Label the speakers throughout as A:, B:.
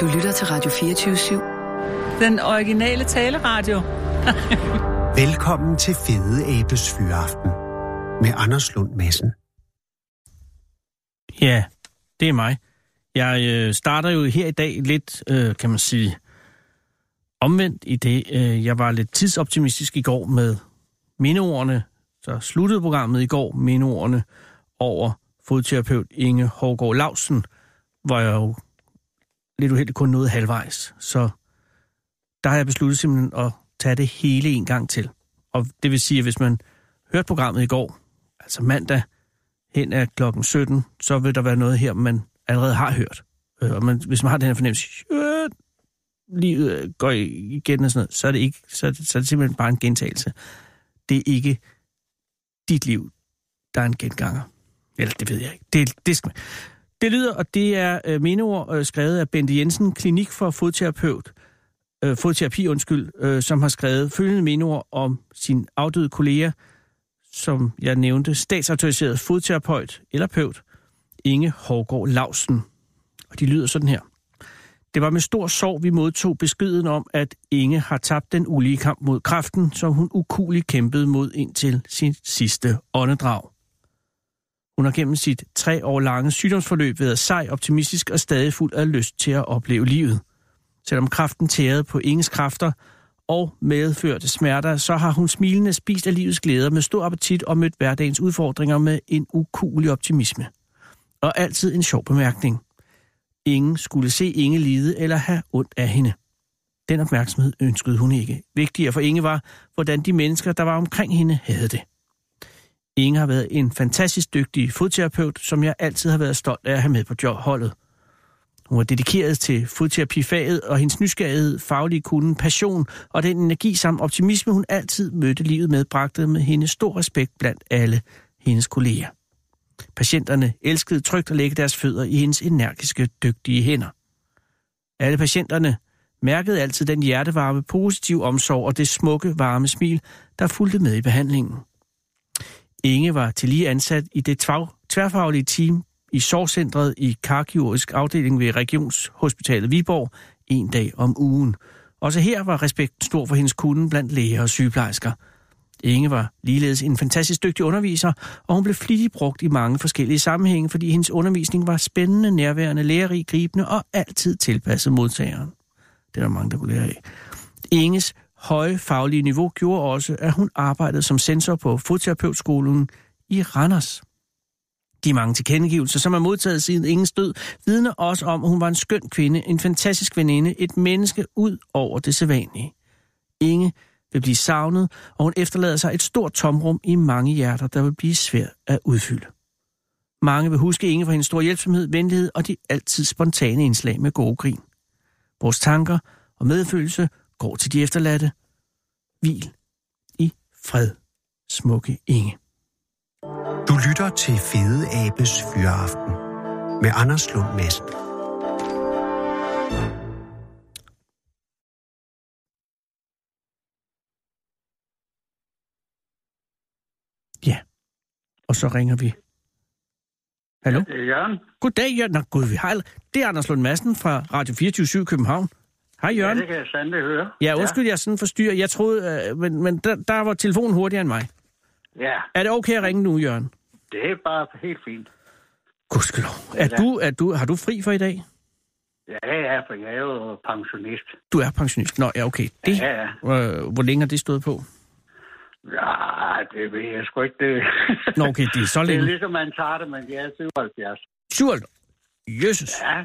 A: Du lytter til Radio 24-7.
B: Den originale taleradio.
C: Velkommen til Fede Abes Fyraften med Anders Lund Madsen.
D: Ja, det er mig. Jeg øh, starter jo her i dag lidt, øh, kan man sige, omvendt i det. Øh, jeg var lidt tidsoptimistisk i går med mindeordene. Så sluttede programmet i går mindeordene over fodterapeut Inge Hårgaard Lausen, hvor jeg jo lidt uheldigt kun nåede halvvejs. Så der har jeg besluttet simpelthen at tage det hele en gang til. Og det vil sige, at hvis man hørte programmet i går, altså mandag hen af klokken 17, så vil der være noget her, man allerede har hørt. Øh, Og man, hvis man har den her fornemmelse, øh, livet øh, går igen og sådan noget, så er, det ikke, så, er det, så er det simpelthen bare en gentagelse. Det er ikke dit liv, der er en genganger. Eller det ved jeg ikke. Det, det skal man. Det lyder, og det er øh, mindeord øh, skrevet af Bente Jensen, Klinik for Fodterapeut, øh, Fodterapi, undskyld, øh, som har skrevet følgende mindeord om sin afdøde kollega, som jeg nævnte, statsautoriseret fodterapeut eller pøvt, Inge Hårgaard Lausen. Og de lyder sådan her. Det var med stor sorg, vi modtog beskeden om, at Inge har tabt den ulige kamp mod kræften, som hun ukuligt kæmpede mod indtil sin sidste åndedrag. Hun har gennem sit tre år lange sygdomsforløb været sej, optimistisk og stadig fuld af lyst til at opleve livet. Selvom kræften tærede på Inges kræfter og medførte smerter, så har hun smilende spist af livets glæder med stor appetit og mødt hverdagens udfordringer med en ukulig optimisme. Og altid en sjov bemærkning. Ingen skulle se Inge lide eller have ondt af hende. Den opmærksomhed ønskede hun ikke. Vigtigere for Inge var, hvordan de mennesker, der var omkring hende, havde det. Inge har været en fantastisk dygtig fodterapeut, som jeg altid har været stolt af at have med på jobholdet. Hun var dedikeret til fodterapifaget, og hendes nysgerrighed, faglige kunde, passion og den energi samt optimisme, hun altid mødte livet med, bragte med hende stor respekt blandt alle hendes kolleger. Patienterne elskede trygt at lægge deres fødder i hendes energiske, dygtige hænder. Alle patienterne mærkede altid den hjertevarme, positiv omsorg og det smukke, varme smil, der fulgte med i behandlingen. Inge var tillige ansat i det tværfaglige team i sorgcentret i karkirurgisk afdeling ved Regionshospitalet Viborg en dag om ugen. Også her var respekten stor for hendes kunde blandt læger og sygeplejersker. Inge var ligeledes en fantastisk dygtig underviser, og hun blev flittigt brugt i mange forskellige sammenhænge, fordi hendes undervisning var spændende, nærværende, lærerig, gribende og altid tilpasset modtageren. Det er der mange, der kunne lære af. Inges høje faglige niveau gjorde også, at hun arbejdede som sensor på fodterapeutskolen i Randers. De mange tilkendegivelser, som er modtaget siden ingen stød, vidner også om, at hun var en skøn kvinde, en fantastisk veninde, et menneske ud over det sædvanlige. Inge vil blive savnet, og hun efterlader sig et stort tomrum i mange hjerter, der vil blive svært at udfylde. Mange vil huske Inge for hendes store hjælpsomhed, venlighed og de altid spontane indslag med gode grin. Vores tanker og medfølelse går til de efterladte. Hvil i fred, smukke Inge.
C: Du lytter til Fede Abes Fyraften med Anders Lund Madsen.
D: Ja, og så ringer vi. Hallo?
E: Ja, det er Øh, Jørgen.
D: Goddag, Jørgen. Nå, gud, vi har... Det er Anders Lund Madsen fra Radio 24 København. Hej Jørgen.
E: Ja, det kan jeg sandelig høre.
D: Ja, undskyld, ja. jeg sådan forstyrrer. Jeg troede, øh, men, men der, der var telefonen hurtigere end mig.
E: Ja.
D: Er det okay at ringe nu, Jørgen?
E: Det er bare helt fint.
D: Gudskelov. Er ja. du, er du, har du fri for i dag?
E: Ja, ja, for jeg er jo pensionist.
D: Du er pensionist? Nå, ja, okay. Det,
E: ja, ja.
D: Øh, hvor længe har det stået på?
E: Ja, det ved jeg sgu ikke. Det...
D: Nå, okay, det er så længe.
E: Det er ligesom, man tager det, men jeg er 77.
D: 77? Jesus.
E: Ja,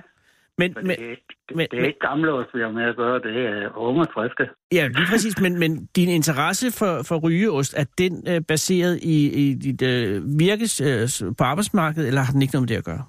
D: men,
E: men, det, er ikke, det, men, det er ikke gamle os, vi har med at gøre. Det er unge og friske.
D: Ja, lige præcis. men, men din interesse for, for rygeost, er den øh, baseret i, i dit øh, virkes øh, på arbejdsmarkedet, eller har den ikke noget med det at gøre?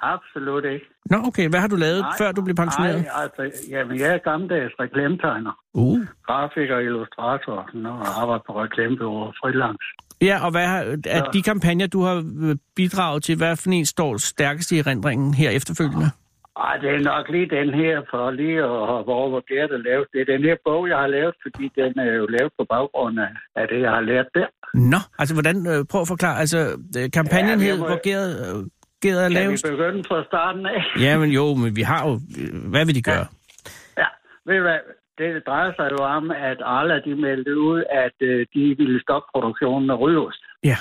E: Absolut ikke.
D: Nå, okay. Hvad har du lavet, nej, før du blev pensioneret?
E: Nej, altså, jamen, jeg er gammeldags reklametegner.
D: Uh.
E: Grafiker, illustrator, og arbejder på reklamebureau og freelance.
D: Ja, og hvad har, er de kampagner, du har øh, bidraget til, hvad for en står stærkest i erindringen her efterfølgende? Ja.
E: Ej, det er nok lige den her, for lige at hoppe over, hvor det er, der lavet. Det er den her bog, jeg har lavet, fordi den er jo lavet på baggrund af det, jeg har lært der.
D: øh, Nå, altså hvordan, prøv at forklare, altså kampagnen ja, hed, må... hvor Gert, Geder er
E: Kan vi
D: lavest.
E: begynde fra starten af?
D: Ja, men jo, men vi har jo... øh, Hvad vil de gøre?
E: Ja, ved du hvad? Det drejer sig jo om, at Arla de meldte ud, at øh, de ville stoppe produktionen af rydost.
D: Ja.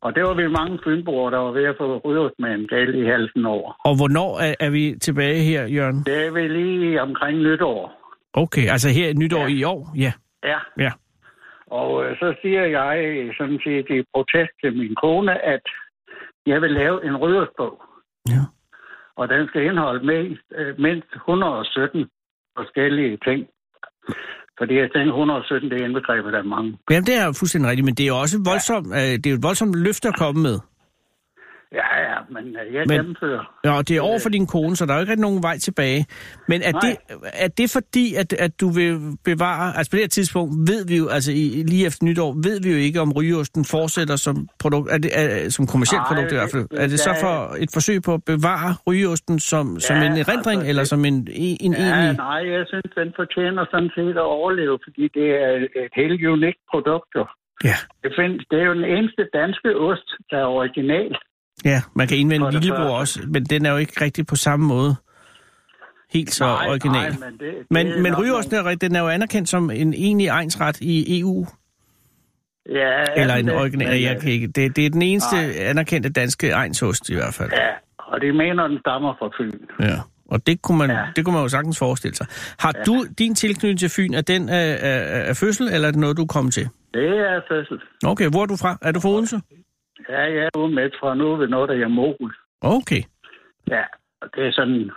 E: Og det var vi mange fynboer, der var ved at få rydost med en del i halsen over.
D: Og hvornår er, er vi tilbage her, Jørgen?
E: Det er vel lige omkring nytår.
D: Okay, altså her nytår ja. i år? Ja,
E: Ja,
D: ja.
E: og øh, så siger jeg øh, sådan set i protest til min kone, at jeg vil lave en rydorsbog.
D: ja.
E: og den skal indeholde mindst, øh, mindst 117 forskellige ting. Fordi jeg tænker, 117 det er indbegrebet af mange.
D: Jamen, det er jo fuldstændig rigtigt, men det er jo også voldsomt, ja. det er jo et voldsomt løfte at komme med.
E: Ja, ja, men øh, jeg
D: Men-
E: men... gennemfører.
D: Ja, og det er over for din kone, så der er jo ikke rigtig nogen vej tilbage. Men er,
E: Nej.
D: det, er det fordi, at, at du vil bevare... Altså på det her tidspunkt ved vi jo, altså i, lige efter nytår, ved vi jo ikke, om rygeosten fortsætter som, produkt, er det, er, som kommersielt
E: Nej,
D: produkt i hvert fald.
E: det-
D: Er det så
E: ja.
D: for et forsøg på at bevare rygeosten som, som
E: Ja,
D: en erindring,
E: altså,
D: eller
E: det-
D: som en, en
E: Ja,
D: egentlig...
E: nej, jeg synes, den fortjener sådan set at overleve, fordi det er et helt unikt produkt. jo.
D: Ja,
E: Det, findes, det er jo den eneste danske ost, der er original.
D: ja, man kan indvende
E: For det
D: Lillebro
E: første.
D: også, men den er jo ikke rigtig på samme måde helt så
E: nej,
D: original.
E: Nej, men det, det er
D: Men, men
E: nok
D: rygeosten er, rigtig- den er jo anerkendt som en egentlig egensret i EU,
E: nogle- Ja,
D: eller
E: ja,
D: en
E: men-
D: original,
E: men,
D: jeg
E: øh,
D: kan ikke. Det, det er den eneste
E: Nej.
D: anerkendte danske egensost i hvert fald.
E: Ja, og de mener, den stammer fra Fyn.
D: Ja. Og det kunne, man,
E: Ja.
D: det kunne man jo sagtens forestille sig. Har du din tilknytning til Fyn, er den af, af, af fødsel, eller er det noget, du kom til?
E: Det er fødsel.
D: Okay, hvor er du fra? Er du fra Odense?
E: Ja, jeg er ude med fra nu ved noget, der er Mogul.
D: Okay.
E: Ja, og det er sådan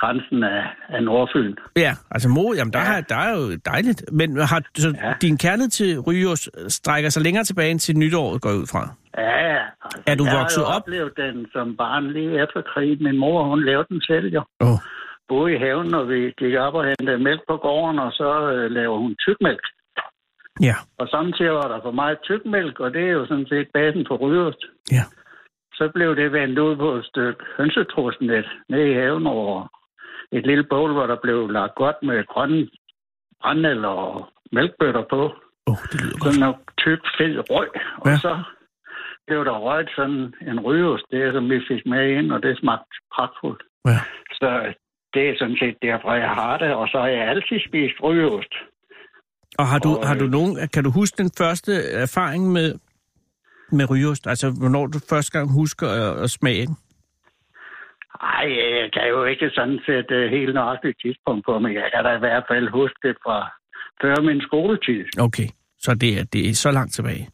E: grænsen af, af Nordfyn.
D: Ja, altså Mo, jamen der, ja. der er jo dejligt. Men har så ja.
E: Ja.
D: din kærlighed til Ryos strækker sig længere tilbage end til nytåret, går jeg ud fra?
E: Ja, ja. Altså,
D: Er du
E: jeg
D: vokset
E: har jo
D: op?
E: oplevet den som barn lige efter krigen. Min mor, hun lavede den selv jo.
D: Åh, oh.
E: Både i haven, og vi gik op og hentede mælk på gården, og så øh, laver hun tykmælk.
D: ja,
E: Og samtidig var der for meget tykmælk, og det er jo sådan set basen for rydost.
D: ja.
E: Så blev det vendt ud på et stykke hønsetrusnet nede i haven over et lille bål, hvor der blev lagt godt med grønne brændel og mælkbøtter på.
D: Åh, oh, det lyder godt.
E: sådan noget tyk, fed røg. Og
D: Ja.
E: ja. så blev der røget sådan en rygeost der, som vi fik med ind, og det smagte pragtfuldt.
D: Ja.
E: Så det er sådan set derfor, jeg har det, og så har jeg altid spist rygeost.
D: Og har du,
E: Og,
D: har du
E: øh,
D: nogen, kan du huske den første erfaring med, med rygeost? Altså, hvornår du første gang husker øh, at, at smage den?
E: Ej, jeg kan jo ikke sådan sætte øh, helt nøjagtigt tidspunkt på, men jeg kan da i hvert fald huske det fra før min skoletid.
D: Okay, så det er, det er så langt tilbage.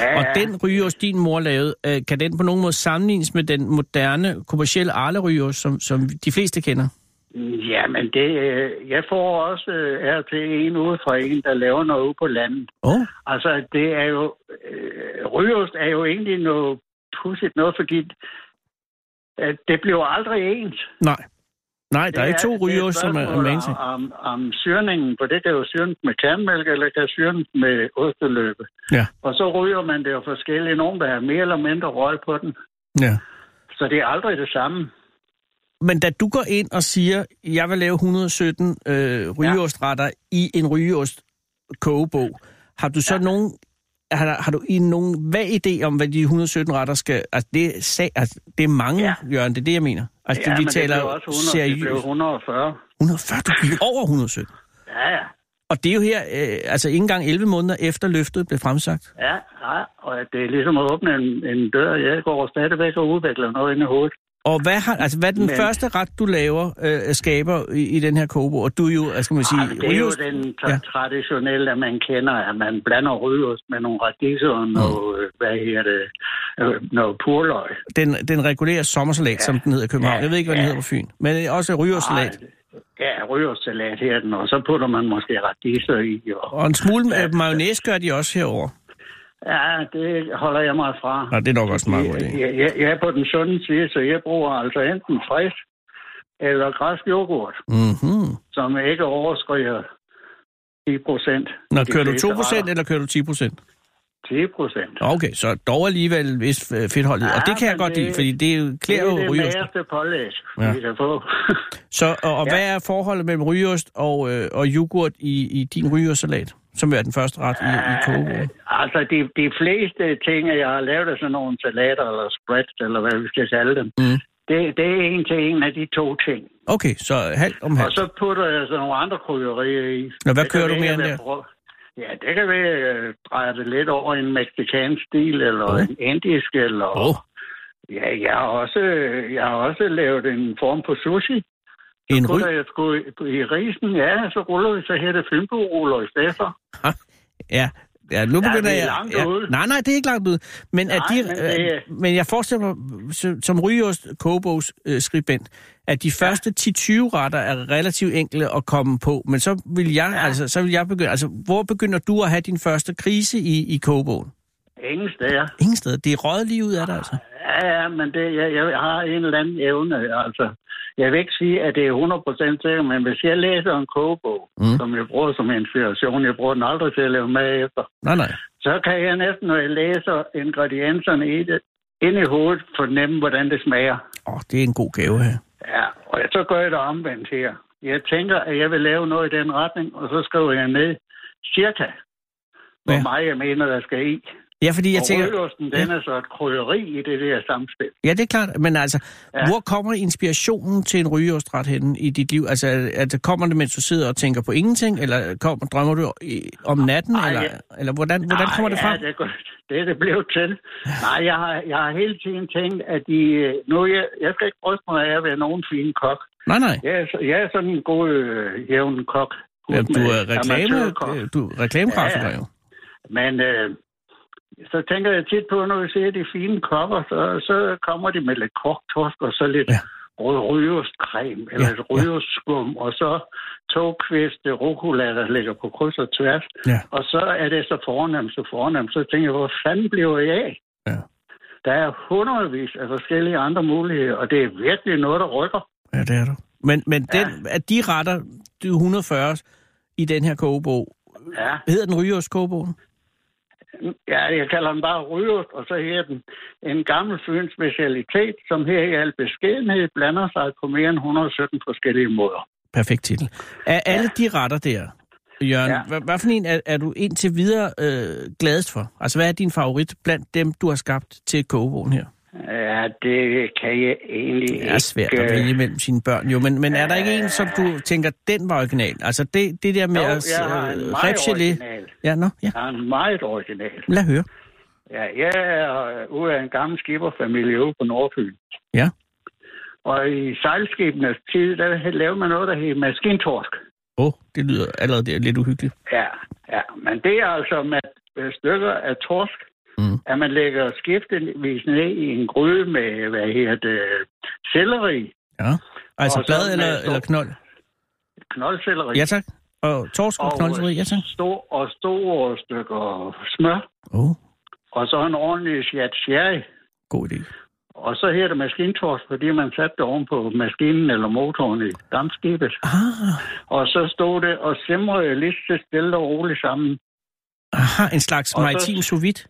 E: Ja,
D: Og den rygeost, din mor lavede, øh, kan den på nogen måde sammenlignes med den moderne, kommercielle arle rygeost, som, som de fleste kender?
E: ja men det, øh, jeg får også øh, her til en ude fra en, der laver noget ude på landet.
D: Åh, oh,
E: Altså, det er jo... Øh, rygeost er jo egentlig noget pudsigt noget, fordi at det bliver aldrig ens.
D: nej. Nej, der er, ikke to
E: det
D: rygeost, som er, er
E: spørgsmål
D: magen til.
E: Om, om, om syrningen, for det kan jo syrnes med kernmælk, eller kan syrnes med osteløbe.
D: Ja.
E: Og så ryger man det jo forskelligt. Nogen vil have mere eller mindre røg på den.
D: Ja.
E: Så det er aldrig det samme.
D: Men da du går ind og siger, jeg vil lave 117 øh, rygeostretter ja. i en rygeost kogebog, har du så ja. nogen har, der- har du i nogen vag idé om, hvad de 117 retter skal... Altså, det er, sag, altså, det er mange, ja.
E: Ja.
D: Jørgen, det er det, jeg mener. Altså, ja, vi
E: men
D: taler
E: det blev også 100, det blev
D: seriøst.
E: 140.
D: 140, du gik over 117.
E: Ja, ja.
D: Og det er jo her, øh, altså ikke engang 11 måneder efter løftet blev fremsagt.
E: Ja, ja, og at det er ligesom at åbne en, en dør. Jeg går stadigvæk og udvikler noget inde i hovedet.
D: Og hvad, har, altså, hvad er den Men...
E: Men-
D: første ret, du laver, øh, skaber i, i den her kogebog? Og du er jo, altså, skal man sige...
E: Ej, men det er jo
D: rygeost-
E: den tra-
D: Ja.
E: traditionelle, at man kender, at man blander rygeost med nogle radiser
D: Mm.
E: og noget, øh, hvad her det, øh, noget purløg.
D: den, den regulære sommersalat, ja. som den hedder i København.
E: Ja,
D: Jeg ved ikke, hvad den
E: ja.
D: hedder på Fyn. Men det er også rygersalat.
E: Ej, Ja, rygeostsalat her den, og så putter man måske radiser i. Og,
D: Og en smule ja. mayonnaise gør de også herover.
E: ja, det holder jeg mig fra.
D: Nej, det er nok også en meget god idé.
E: Jeg, jeg, jeg er på den sunde side, så jeg bruger altså enten frisk eller græsk yoghurt,
D: Mm-hmm.
E: som ikke overskriger 10 procent.
D: Nå, kører du 2% eller kører du 10%?
E: 10 procent.
D: Nå, Okay, så dog alligevel hvis øh, fedtholdet. Ja,
E: Ja,
D: og det kan jeg
E: men
D: godt
E: det-
D: lide, fordi det er jo-
E: Det
D: klæder
E: er
D: jo
E: det
D: rygeost.
E: næreste pålæg,
D: Ja.
E: vi kan få.
D: Så, og, og
E: Ja.
D: hvad er forholdet mellem rygeost og, øh, og yoghurt i, i din rygersalat? Som er den første ret i, i kogebogen.
E: Altså, de, de fleste ting, jeg har lavet af sådan nogle salater eller spreads, eller hvad vi skal kalde dem,
D: Mm.
E: Det, det er en til en af de to ting.
D: Okay, så halvt om
E: Og
D: halvt.
E: så putter jeg så nogle andre krydderier i.
D: Nå, hvad
E: Det kan
D: kører du
E: være,
D: mere end
E: jeg
D: der?
E: prøver- Ja, det kan være, at jeg drejer det lidt over i en mexikansk stil, eller
D: Åh.
E: en indisk, eller...
D: Åh, oh,
E: Ja, jeg har, også, jeg har også lavet en form på sushi.
D: en
E: Putter
D: ryg.
E: jeg sgu i, i risen, ja, så ruller vi, så her det fynbo-ruller i stedet for.
D: Ja, ja, nu
E: Ja,
D: begynder
E: det er
D: jeg...
E: langt
D: ja.
E: ude.
D: Nej, nej, det er ikke langt ude. Men, nej,
E: Nej,
D: de,
E: men
D: men,
E: det-
D: øh, men jeg forestiller mig, som- som rygeost kogebogs øh, skribent, at de første 10-20 retter er relativt enkle at komme på, men så vil jeg, ja. altså, så vil jeg begynde... Altså, hvor begynder du at have din første krise i, i kogebogen?
E: Ingen steder.
D: Ingen steder. Det er røget lige ud af dig, altså.
E: Ja, ja, men det, jeg, jeg har en eller anden evne, altså. Jeg vil ikke sige, at det er 100% sikkert, men hvis jeg læser en kogebog,
D: Mm.
E: mm. som jeg bruger som inspiration, jeg bruger den aldrig til at lave mad efter,
D: Nej, nej.
E: så kan jeg næsten, når jeg læser ingredienserne i det, ind i hovedet fornemme, hvordan det smager.
D: Åh, det er en god gave her.
E: Ja, og jeg- så gør jeg det omvendt her. Jeg tænker, at jeg vil lave noget i den retning, og så skriver jeg ned cirka, hvor
D: Ja.
E: meget jeg mener, der skal i.
D: Ja, fordi jeg
E: og
D: tænker...
E: rødlusten, den er så et krydderi i det der samspil.
D: Ja, det er klart. Men altså, ja.
E: Ja.
D: hvor kommer inspirationen til en rygeostret henne i dit liv? Altså, er- er det, kommer det, mens du sidder og tænker på ingenting? Eller kommer, drømmer du i- om natten?
E: Ej,
D: eller, eller hvordan, hvordan kommer det
E: ja,
D: frem?
E: Det, er godt. det er det blev til. Nej, jeg har, jeg har hele tiden tænkt, at de... øh, Nu, er jeg, jeg skal ikke bryste mig af at være nogen fin kok.
D: Nej, nej.
E: Jeg er, så- jeg er sådan en god, øh, jævn kok.
D: Jamen, du er
E: Med
D: reklame, øh-
E: amatørkok.
D: du er reklamegrafiker
E: Ja, ja.
D: jo.
E: Men øh, så tænker jeg tit på, når vi ser de fine kopper, så, så kommer de med lidt korktorsk og så lidt
D: Ja.
E: ja. rød rygeostcreme eller
D: Ja,
E: ja, et rygeostskum, og så to kviste rucola, der ligger på kryds og tværs.
D: Ja.
E: Og så er det så fornemt, så fornemt. Så tænker jeg, hvor fanden bliver jeg af?
D: Ja.
E: Der er hundredvis af forskellige andre muligheder, og det er virkelig noget, der rykker.
D: Ja, det er du. Men, men ja. den, at de retter, de 140 i den her kogebog,
E: Ja.
D: hedder den rygeostkogebogen?
E: Ja, jeg kalder den bare rygeost, og så her den en gammel fyns specialitet, som her i al beskedenhed blander sig på mere end 117 forskellige måder.
D: Perfekt titel. Af alle de retter der, Jørgen, ja.
E: Ja.
D: hvad, hvad for en er, er du indtil videre øh, gladest for? Altså, hvad er din favorit blandt dem, du har skabt til kogebogen her?
E: Ja, det kan jeg egentlig
D: Det er svært
E: ikke... øh,
D: at vælge mellem sine børn, jo, men, men er der ikke en, som du tænker, den var original? Altså, det, det der med
E: Jo,
D: at
E: jeg har en
D: øh,
E: meget
D: rebgelé-
E: original.
D: Ja, nå, ja.
E: Jeg er en meget original.
D: Lad høre.
E: Ja, jeg er øh, ude af en gammel skipperfamilie ude på Nordfyn.
D: Ja.
E: Og i sejlskibenes tid, der lavede man noget, der hed maskintorsk.
D: Åh, oh, det lyder allerede der lidt uhyggeligt.
E: Ja, ja, men det er altså med øh, stykker af torsk,
D: Mm.
E: mm. at man lægger skiftevis ned i en gryde med, hvad her det, selleri,
D: Ja. Altså,
E: Og så
D: blad
E: med
D: eller,
E: stor-
D: eller knold?
E: knoldselleri,
D: Ja, tak. Og torsk og
E: Og, øh,
D: knolderi? Ja, tak.
E: stor, og store stykker smør,
D: Åh, oh,
E: og så en ordentlig chat sherry.
D: god idé.
E: Og så her det maskintorsk, fordi man satte det oven på maskinen eller motoren i dampskibet.
D: Ah,
E: Og så stod det og simrede lige så stille og roligt sammen.
D: aha, en slags
E: Og så-
D: maritim sous vide.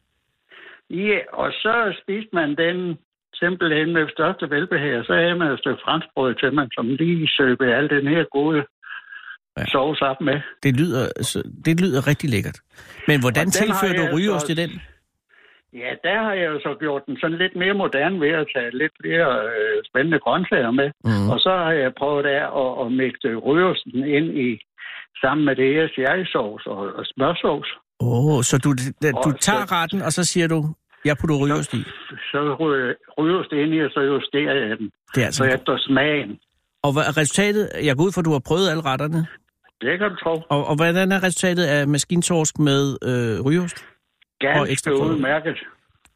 E: Ja, og så spiste man den simpelthen med største velbehag, og så havde man et stykke franskbrød til, man som lige søbte al den her gode
D: Ja.
E: ja. sovs op med.
D: Det lyder, altså, det lyder rigtig lækkert. Men hvordan
E: Og den har
D: tilfører
E: jeg
D: du
E: altså
D: rygeost
E: også-
D: til den?
E: Ja, der har jeg jo så gjort den sådan lidt mere moderne ved at tage lidt flere øh, spændende grøntsager med.
D: Mm.
E: Mm. Og så har jeg prøvet der at, at mixe rygelsen ind i sammen med det her sherrysovs og, og smørsovs.
D: Åh, oh, så du, du
E: Og
D: tager
E: så-
D: retten, og så siger du, jeg putter rygeost i.
E: Så ryges det ind i, og så justerer jeg den.
D: Det er altså...
E: Så efter smagen.
D: Og hvad er resultatet? Jeg går ud for, at du har prøvet alle retterne.
E: Det kan du tro.
D: Og, og hvordan er resultatet af maskintorsk med øh, rygeost? Og ekstra
E: Ganske
D: krydder.
E: udmærket.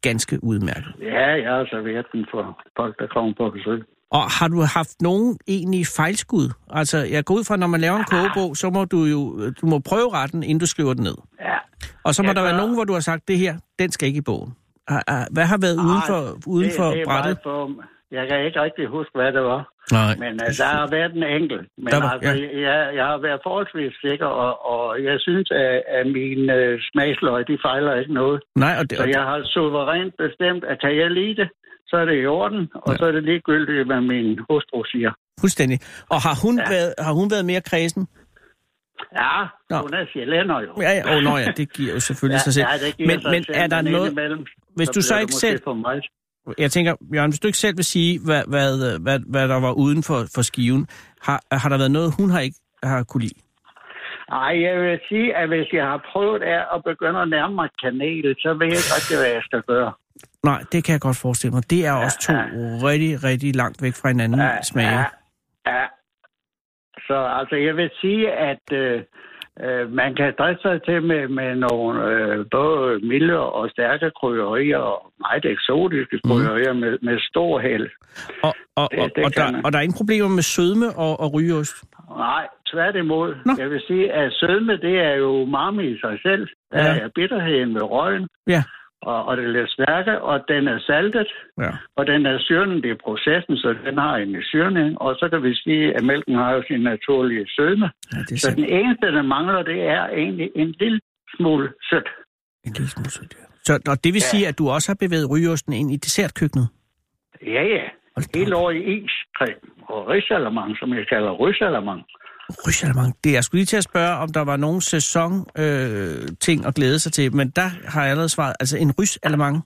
D: Ganske udmærket.
E: Ja, jeg har serveret den for folk, der kommer på besøg.
D: Og har du haft nogen egentlige fejlskud? Altså, jeg går ud fra, at når man laver en kogebog, så må du jo øh, du må prøve retten, inden du skriver den ned.
E: Ja.
D: Og så må
E: Ja,
D: der være
E: så-
D: nogen, hvor du har sagt, det her, den skal ikke i bogen. Ah, ah, Hvad har været uden
E: Ej,
D: for, uden
E: det,
D: for
E: det er
D: brættet?
E: meget for, jeg kan ikke rigtig huske, hvad det var.
D: Nej.
E: Men uh, der har været en enkelt. Men
D: Der var-
E: altså,
D: ja.
E: jeg, jeg har været forholdsvis sikker, og, og jeg synes, at, at mine uh, smagsløg, de fejler ikke noget.
D: Nej, og det,
E: Så jeg har suverænt bestemt, at kan jeg lide det, så er det i orden, og
D: Ja.
E: ja. så er det ligegyldigt, hvad min hustru siger.
D: fuldstændig. Og har hun, ja.
E: Ja.
D: været, har hun været mere kredsen?
E: Ja,
D: Nå.
E: hun er sjælænder jo.
D: Ja, ja. Oh, nå ja, det giver jo selvfølgelig sig selv.
E: Ja, det giver
D: men
E: sig
D: men
E: selv,
D: er der
E: men øh,
D: noget...
E: indimellem,
D: Hvis du så
E: bliver det
D: ikke
E: måske
D: selv-
E: For mig.
D: Jeg tænker, Jørgen, hvis du ikke selv vil sige, hvad, hvad, hvad, hvad der var uden for, for skiven, har, har der været noget, hun har ikke har kunne lide?
E: Ej, jeg vil sige, at hvis jeg har prøvet af at begynde at nærme mig kanel, så ved jeg godt, hvad jeg skal gøre.
D: Nej, det kan jeg godt forestille mig. Det er også to rigtig, rigtig langt væk fra hinanden ja, smage.
E: Ja, ja. Så altså, jeg vil sige, at øh, øh, man kan driste sig til med, med nogle øh, både milde og stærke krydderier, og meget eksotiske
D: Mhm.
E: krydderier mm. med, med stor held.
D: Og, og,
E: Det-
D: og,
E: det
D: og,
E: kan
D: der,
E: man.
D: og der er ingen problemer med sødme og, og rygeost?
E: Nej, tværtimod.
D: Nå.
E: Nå. Jeg vil sige, at sødme, det er jo umami i sig selv. Der
D: Ja.
E: ja. er bitterheden ved røgen,
D: Ja.
E: og, og det er lidt stærke, og den er saltet,
D: ja.
E: og den er syrnet i processen, så den har en syrning, og så kan vi sige, at mælken har jo sin naturlige sødme.
D: ja det er
E: Så
D: sandt.
E: den eneste, der mangler, det er egentlig en lille smule sødt.
D: En lille smule sødt, ja. Så, og det vil
E: Ja.
D: sige, at du også har bevæget rygeosten ind i dessertkøkkenet?
E: Ja, ja.
D: Hold da
E: Helt
D: op.
E: over i iscreme og risalamang, som jeg kalder rysalamang.
D: Rygesalamang. Det jeg skulle lige til at spørge, om der var nogen sæson øh, ting at glæde sig til, men der har jeg allerede svaret. Altså en rysalamang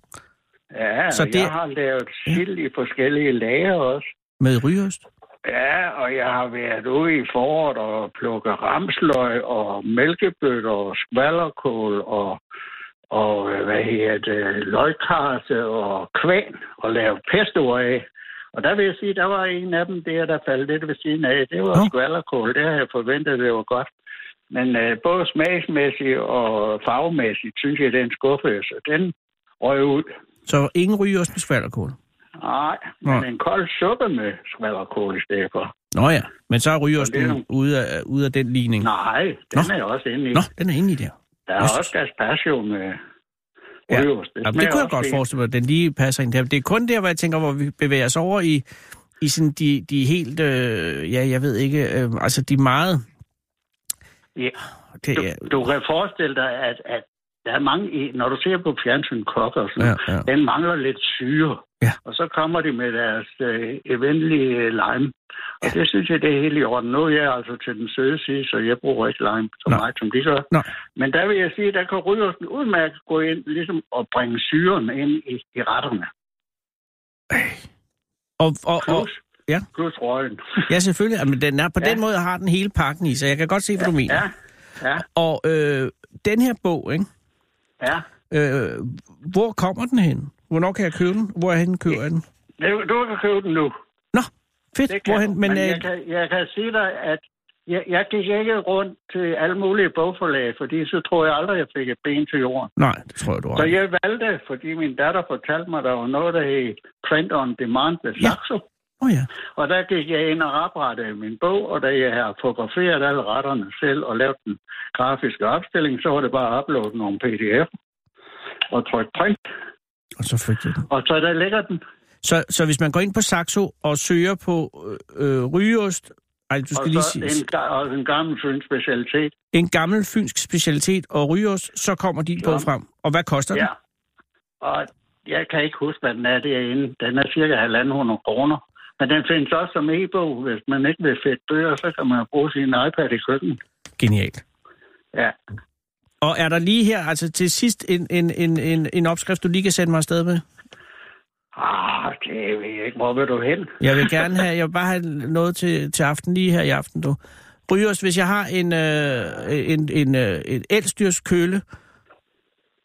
E: Ja,
D: Så
E: så
D: det-
E: det... jeg har lavet sild i forskellige lager også.
D: med rygeost?
E: Ja, og jeg har været ude i foråret og plukket ramsløg og mælkebøtter og skvallerkål og, og øh, hvad hedder det, løgkarse og kvæn og lavet pesto af. Og der vil jeg sige, der var en af dem der, der faldt lidt ved siden af. Det var
D: Nå.
E: skvallerkål. Det havde jeg forventet, det var godt. Men øh, både smagsmæssigt og farvemæssigt, synes jeg, den skuffede, så den røg ud.
D: Så ingen rygeost med skvalderkål?
E: Nej,
D: Nå.
E: men en kold suppe med skvallerkål i stedet for.
D: Nå ja, men så er
E: Og det er
D: rygeosten
E: jo-
D: ude af, ude af den ligning.
E: Nej, den
D: Mm. Nå.
E: Nå. er jeg også inde i.
D: Nå, den er inde i der.
E: Der er
D: Jeg
E: også gazpacho med
D: Ja.
E: ja.
D: Jamen, det kunne jeg godt forestille mig, at den lige passer ind der. Det er kun der, hvor jeg tænker, hvor vi bevæger os over i, i sådan de, de helt, øh, ja, jeg ved ikke, øh, altså de meget...
E: Ja.
D: Det er,
E: Du, du kan forestille dig, at, at der er mange, i- når du ser på fjernsyn kokker og sådan,
D: ja,
E: ja.
D: ja.
E: den mangler lidt syre.
D: Ja.
E: Og så kommer de med deres øh, eventlige lime. Og det synes jeg, det er helt i orden. Nu er jeg altså til den søde side, så jeg bruger ikke lime så
D: Nå.
E: meget, som de gør.
D: Nå.
E: Men der vil jeg sige, der kan rygersen udmærket gå ind ligesom, og bringe syren ind i, i retterne.
D: Og, og, og,
E: Plus,
D: ja.
E: plus røgen.
D: ja, selvfølgelig. Jamen, den er, på ja.
E: Ja.
D: den måde har den hele pakken i, så jeg kan godt se, hvad ja. du mener.
E: ja, ja,
D: Og øh, den her bog, ikke?
E: ja.
D: Øh, hvor kommer den hen? Hvornår kan jeg købe den? Hvorhen køber jeg den?
E: Du du kan købe den nu.
D: Nå, fedt.
E: Det kan,
D: Hvorhen?
E: du.
D: Men,
E: men
D: øh,
E: jeg, kan, jeg kan sige dig, at jeg, jeg gik ikke rundt til alle mulige bogforlag, fordi så tror jeg aldrig, jeg fik et ben til jorden.
D: Nej, det tror jeg, du har.
E: Så
D: ret i.
E: jeg valgte, fordi min datter fortalte mig, der var noget, der hed Print on Demand ved
D: Ja.
E: Saxo. Ja.
D: Åh ja.
E: Og der gik jeg ind og oprettede min bog, og da jeg har fotograferet alle retterne selv og lavet den grafiske opstilling, så var det bare at uploade nogle pdf og trykke print,
D: Og så fik jeg den.
E: og så der ligger den.
D: Så, så hvis man går ind på Saxo og søger på øh, øh, rygeost, ej, du
E: Og
D: skal lige
E: så
D: sige, en,
E: en, ga- og en gammel fyns specialitet.
D: en gammel fynsk specialitet og rygeost, så kommer din bog
E: Ja.
D: frem. Og hvad koster den?
E: Ja. Og jeg kan ikke huske, hvad den er derinde. Den er cirka 1.500 kroner. Men den findes også som e-bog. Hvis man ikke vil fedte bøger, så kan man bruge sin iPad i køkkenet.
D: Genialt.
E: Ja.
D: Og er der lige her, altså til sidst, en, en, en, en, en opskrift, du lige kan sende mig afsted med?
E: Ah, det ved jeg ikke. Hvor vil du hen?
D: Jeg vil gerne have, jeg vil bare have noget til, til aften, lige her i aften, du. Rygeost, hvis jeg har en, øh, en, en, øh, et elstyrskøle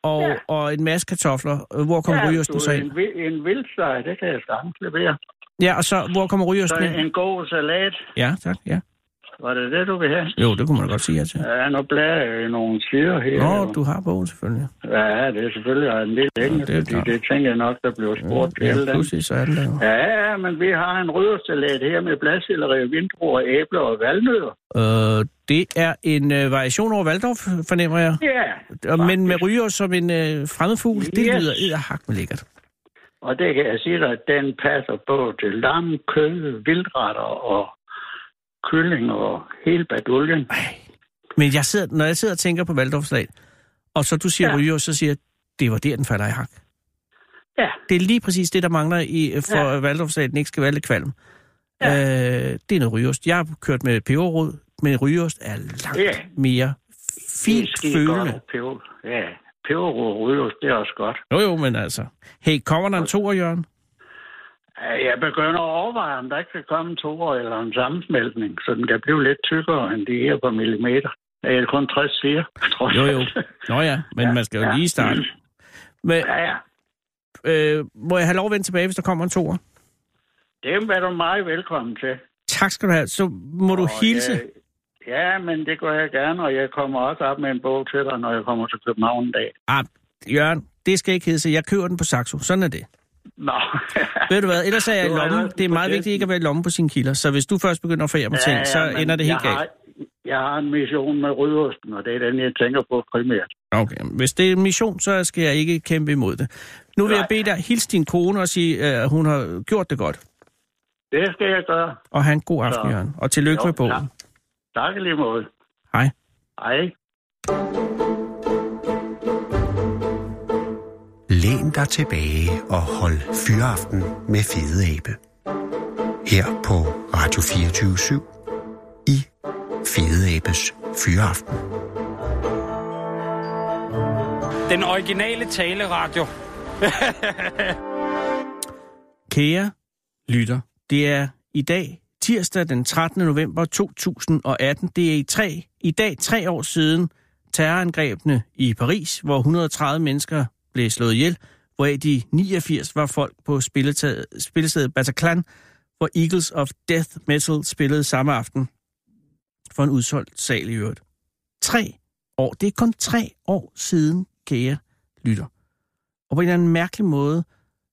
D: og, ja. og en masse kartofler, øh, hvor kommer ja, rygeosten
E: du,
D: så ind?
E: en, vi- en vildsteg, det kan jeg sagtens levere.
D: Ja, og så, hvor kommer
E: Så
D: rygeosten ind?
E: en god salat.
D: Ja, tak, ja.
E: Var det det, du vil have?
D: Jo, det kunne man godt sige ja til.
E: Ja, nu blærer jeg i nogle sider her.
D: Nå, du har bogen selvfølgelig.
E: Ja, det er selvfølgelig en lille
D: Nå,
E: længe,
D: det er
E: fordi
D: klart.
E: det tænker jeg nok, der bliver spurgt
D: Ja,
E: til. den.
D: pludselig så er den der. jo.
E: Ja, ja, men vi har en rødsalat her med bladselleri, vindruer, æbler og valnødder.
D: Øh, det er en øh, variation over Waldorf, fornemmer jeg.
E: Ja,
D: Og- Men med ryger som en øh, fremmed fugl, det
E: Yes.
D: lyder edderhak med lækkert.
E: og det kan jeg sige dig, at den passer både til lam, kød, vildretter og kylling og hele baduljen.
D: Men jeg sidder, når jeg sidder og tænker på Waldorfslag, og så du siger ja.
E: Ja.
D: ryger, så siger jeg, det var der, den falder i hak.
E: Ja,
D: Det er lige præcis det, der mangler i, øh, for ja.
E: Ja.
D: Waldorfslag, den ikke skal være lidt kvalm.
E: Ja.
D: Øh, det er noget rygeost. Jeg har kørt med peberrod, men rygeost er langt
E: Ja.
D: mere
E: det er
D: fint
E: skide
D: følende.
E: godt. Peber, ja, peber og rødløs, det er også godt.
D: Jo, jo, men altså. Hey, kommer der en toer, Jørgen?
E: Jeg begynder at overveje, om der ikke kan komme en toer eller en sammensmeltning, så den kan blive lidt tykkere end de her på millimeter. Jeg er kun 60 siger, tror
D: Jo,
E: jeg.
D: jo. Nå ja, men ja, man skal jo
E: ja.
D: ja. lige starte. Men,
E: Ja, ja.
D: øh, må jeg have lov at vende tilbage, hvis der kommer en toer?
E: Det er du meget velkommen til.
D: Tak skal du have. Så må du
E: Og
D: hilse.
E: Jeg, ja, men det gør jeg gerne, og jeg kommer også op med en bog til dig, når jeg kommer til København en dag.
D: Ah, Jørgen, det skal ikke hedde sig. Jeg køber den på Saxo. Sådan er det.
E: Nå,
D: Ved du hvad, ellers er jeg i
E: Det var
D: lommen.
E: allerede
D: Det er meget
E: på
D: vigtigt ikke at være i lommen på sine kilder. Så hvis du først begynder at forære mig ting, så
E: men
D: ender det helt galt.
E: jeg Har, jeg har en mission med Ryddersten, og det er den, jeg tænker på primært.
D: Okay, hvis det er en mission, så skal jeg ikke kæmpe imod det. Nu vil jeg bede dig hilse din kone og sige, at hun har gjort det godt.
E: Det skal jeg gøre.
D: Og have en god aften,
E: Så-
D: Jørgen. Og tillykke
E: Jo,
D: med bogen.
E: tak. Tak i lige måde.
D: Hej.
E: Hej.
C: Læn dig tilbage og hold fyraften med Fede Abe. Her på Radio 24 i Fede Abes Fyraften.
F: Den originale taleradio.
D: Kære lytter, det er i dag, tirsdag den 13. november 2018. Det er i, tre, i dag tre år siden terrorangrebene i Paris, hvor 130 mennesker blev slået ihjel, hvoraf de 89 var folk på spilletaget- spillestedet Bataclan, hvor Eagles of Death Metal spillede samme aften for en udsolgt sal i øvrigt. Tre år. Det er kun tre år siden, kære lytter. Og på en eller anden mærkelig måde,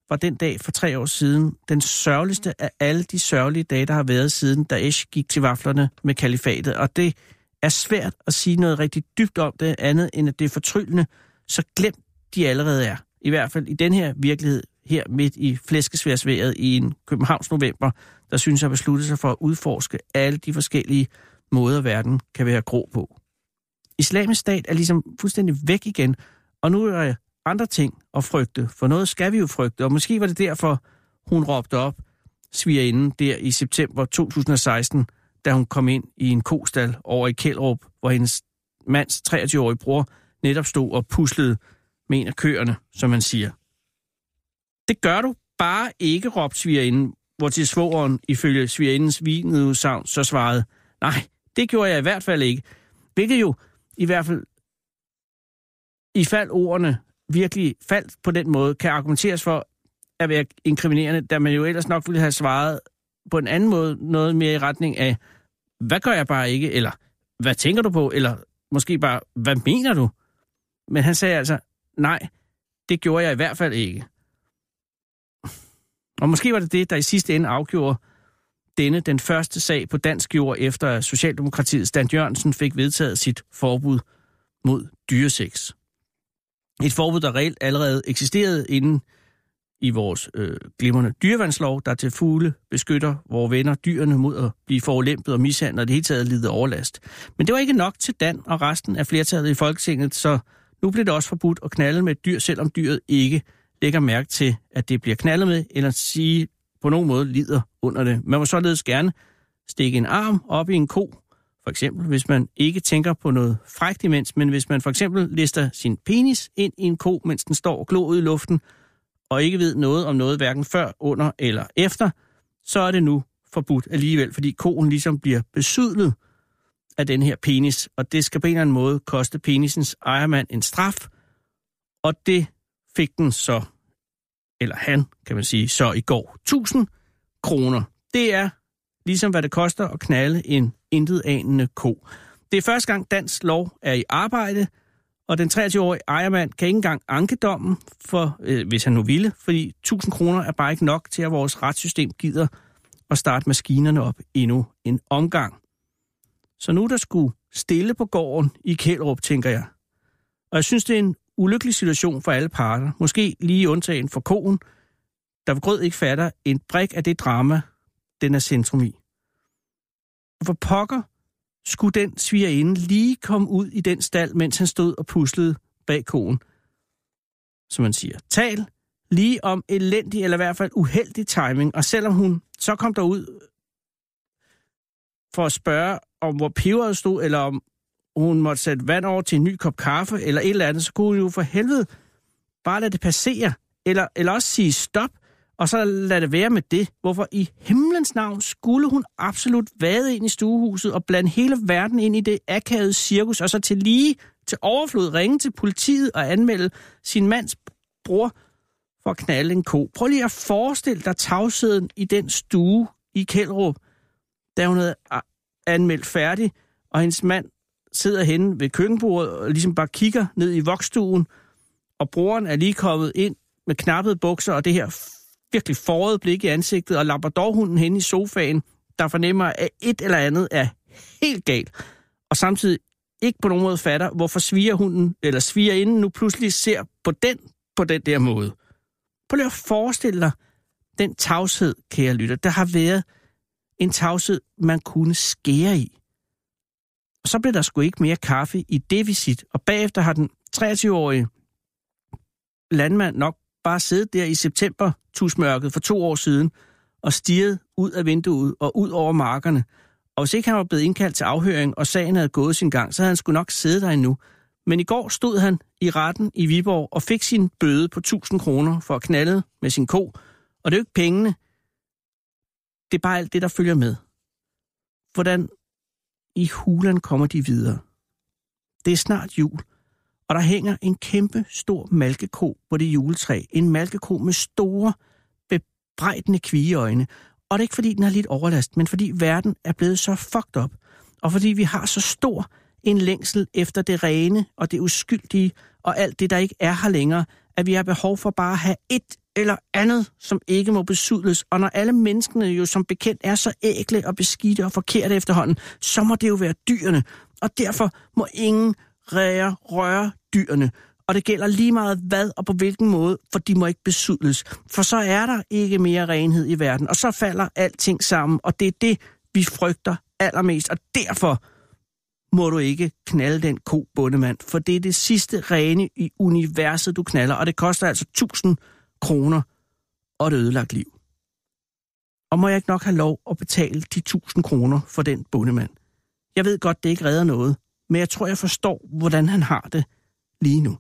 D: var den dag for tre år siden den sørgeligste af alle de sørgelige dage, der har været siden Daesh gik til vaflerne med kalifatet. Og det er svært at sige noget rigtig dybt om det, andet end at det er fortryllende, så glem de allerede er. I hvert fald i den her virkelighed, her midt i flæskesværsværet i en Københavns november, der synes jeg besluttet sig for at udforske alle de forskellige måder, verden kan være grå på. Islamisk stat er ligesom fuldstændig væk igen, og nu er der andre ting at frygte, for noget skal vi jo frygte, og måske var det derfor, hun råbte op, svigerinden der i september 2016, da hun kom ind i en kostal over i Kjellrup, hvor hendes mands 23-årige bror netop stod og puslede med en af køerne, som man siger. Det gør du bare ikke, råbte svigerinden, hvor til svogeren ifølge svigerindens vinede udsagn så svarede, nej, det gjorde jeg i hvert fald ikke. Hvilket jo i hvert fald i fald ordene virkelig faldt på den måde, kan argumenteres for at være inkriminerende, da man jo ellers nok ville have svaret på en anden måde, noget mere i retning af, hvad gør jeg bare ikke, eller hvad tænker du på, eller måske bare, hvad mener du? Men han sagde altså, nej, det gjorde jeg i hvert fald ikke. Og måske var det det, der i sidste ende afgjorde denne den første sag på dansk jord, efter at Socialdemokratiet Stan Jørgensen fik vedtaget sit forbud mod dyreseks. Et forbud, der reelt allerede eksisterede inden i vores øh, glimrende dyrevandslov, der til fugle beskytter vores venner dyrene mod at blive forulæmpet og mishandlet og i det hele taget lide overlast. Men det var ikke nok til Dan og resten af flertallet i Folketinget, så nu blev det også forbudt at knalde med et dyr, selvom dyret ikke lægger mærke til, at det bliver knaldet med, eller sige på nogen måde lider under det. Man må således gerne stikke en arm op i en ko, for eksempel hvis man ikke tænker på noget frækt imens, men hvis man for eksempel lister sin penis ind i en ko, mens den står og glor ud i luften, og ikke ved noget om noget hverken før, under eller efter, så er det nu forbudt alligevel, fordi koen ligesom bliver besydlet af den her penis, og det skal på en eller anden måde koste penisens ejermand en straf, og det fik den så, eller han, kan man sige, så i går 1000 kroner. Det er ligesom hvad det koster at knalde en intetanende ko. Det er første gang dansk lov er i arbejde, og den 23-årige ejermand kan ikke engang anke dommen, for, øh, hvis han nu ville, fordi 1000 kroner er bare ikke nok til, at vores retssystem gider at starte maskinerne op endnu en omgang. Så nu er der skulle stille på gården i Kælderup, tænker jeg. Og jeg synes, det er en ulykkelig situation for alle parter. Måske lige undtagen for koen, der ved grød ikke fatter en brik af det drama, den er centrum i. For pokker skulle den svigerinde lige komme ud i den stald, mens han stod og puslede bag konen. Som man siger, tal lige om elendig eller i hvert fald uheldig timing, og selvom hun så kom derud for at spørge om, hvor peberet stod, eller om hun måtte sætte vand over til en ny kop kaffe, eller et eller andet, så kunne hun jo for helvede bare lade det passere, eller, eller også sige stop, Og så lad det være med det. Hvorfor i himlens navn skulle hun absolut vade ind i stuehuset og blande hele verden ind i det akavede cirkus, og så til lige til overflod ringe til politiet og anmelde sin mands bror for at knalde en ko. Prøv lige at forestille dig tavsheden i den stue i Kælderup, da hun havde ah, a- anmeldt færdig, og hendes mand sidder henne ved køkkenbordet og ligesom bare kigger ned i vokstuen, og broren er lige kommet ind med knappede bukser og det her f- virkelig forrede blik i ansigtet, og labradorhunden henne i sofaen, der fornemmer, at et eller andet er helt galt, og samtidig ikke på nogen måde fatter, hvorfor svigerhunden eller svigerinden nu pludselig ser på den på den der måde. Prøv lige at forestille dig den tavshed, kære lytter. Der har været en tavshed, man kunne skære i. Og så blev der sgu ikke mere kaffe i det visit, og bagefter har den 23-årige landmand nok bare siddet der i september tusmørket for to år siden og stirret ud af vinduet og ud over markerne. Og hvis ikke han var blevet indkaldt til afhøring, og sagen havde gået sin gang, så havde han sgu nok siddet der endnu. Men i går stod han i retten i Viborg og fik sin bøde på 1000 kroner for at knalde med sin ko. Og det er jo ikke pengene. Det er bare alt det, der følger med. Hvordan i hulen kommer de videre? Det er snart jul, og der hænger en kæmpe stor malkeko på det juletræ. En malkeko med store, bebrejdende kvigeøjne. Og det er ikke fordi, den har lidt overlast, men fordi verden er blevet så fucked up. Og fordi vi har så stor en længsel efter det rene og det uskyldige og alt det, der ikke er her længere, at vi har behov for bare at have et eller andet, som ikke må besudles. Og når alle menneskene jo som bekendt er så ægle og beskidte og forkerte efterhånden, så må det jo være dyrene. Og derfor må ingen rære røre dyrene. Og det gælder lige meget hvad og på hvilken måde, for de må ikke besudles. For så er der ikke mere renhed i verden, og så falder alting sammen. Og det er det, vi frygter allermest. Og derfor må du ikke knalde den ko, bondemand, for det er det sidste rene i universet, du knaller, og det koster altså 1000 kroner og et ødelagt liv. Og må jeg ikke nok have lov at betale de 1000 kroner for den bondemand? Jeg ved godt, det ikke redder noget, men jeg tror, jeg forstår, hvordan han har det lige nu.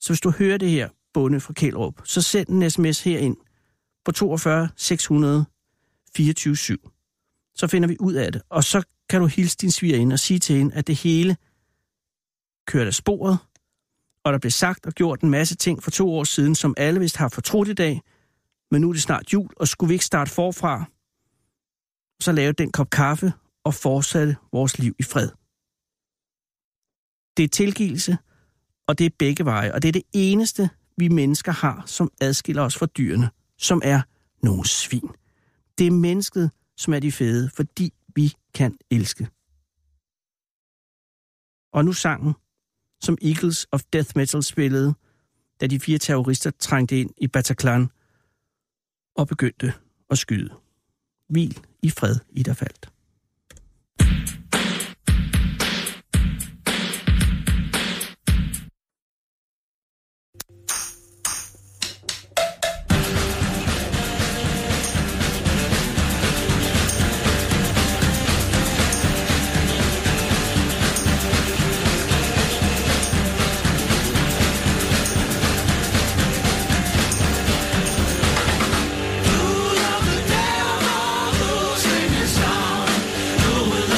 D: Så hvis du hører det her, bonde fra Kælderup, så send en sms herind på 42 600 24 7. Så finder vi ud af det, og så kan du hilse din svigerinde og sige til hende, at det hele kørte af sporet, og der blev sagt og gjort en masse ting for to år siden, som alle vist har fortrudt i dag, men nu er det snart jul, og skulle vi ikke starte forfra, så lave den kop kaffe og fortsætte vores liv i fred. Det er tilgivelse, og det er begge veje, og det er det eneste, vi mennesker har, som adskiller os fra dyrene, som er nogle svin. Det er mennesket, som er de fede, fordi vi kan elske. Og nu sangen, som Eagles of Death Metal spillede, da de fire terrorister trængte ind i Bataclan og begyndte at skyde. Hvil i fred, i der faldt.
G: Sing your song.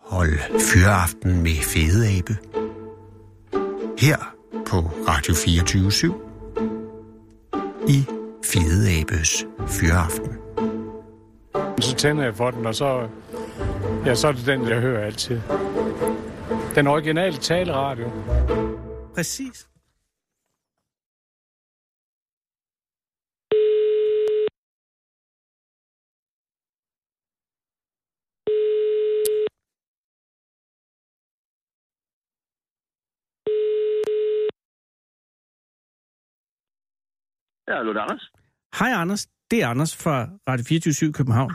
C: holde fyreaften med Fede Abe. Her på Radio 24 i Fede Abes Fyreaften.
G: Så tænder jeg for den, og så, ja, så er det den, jeg hører altid. Den originale taleradio.
D: Præcis.
E: Ja, hallo, det er Anders.
D: Hej Anders, det er Anders fra Radio 24 København.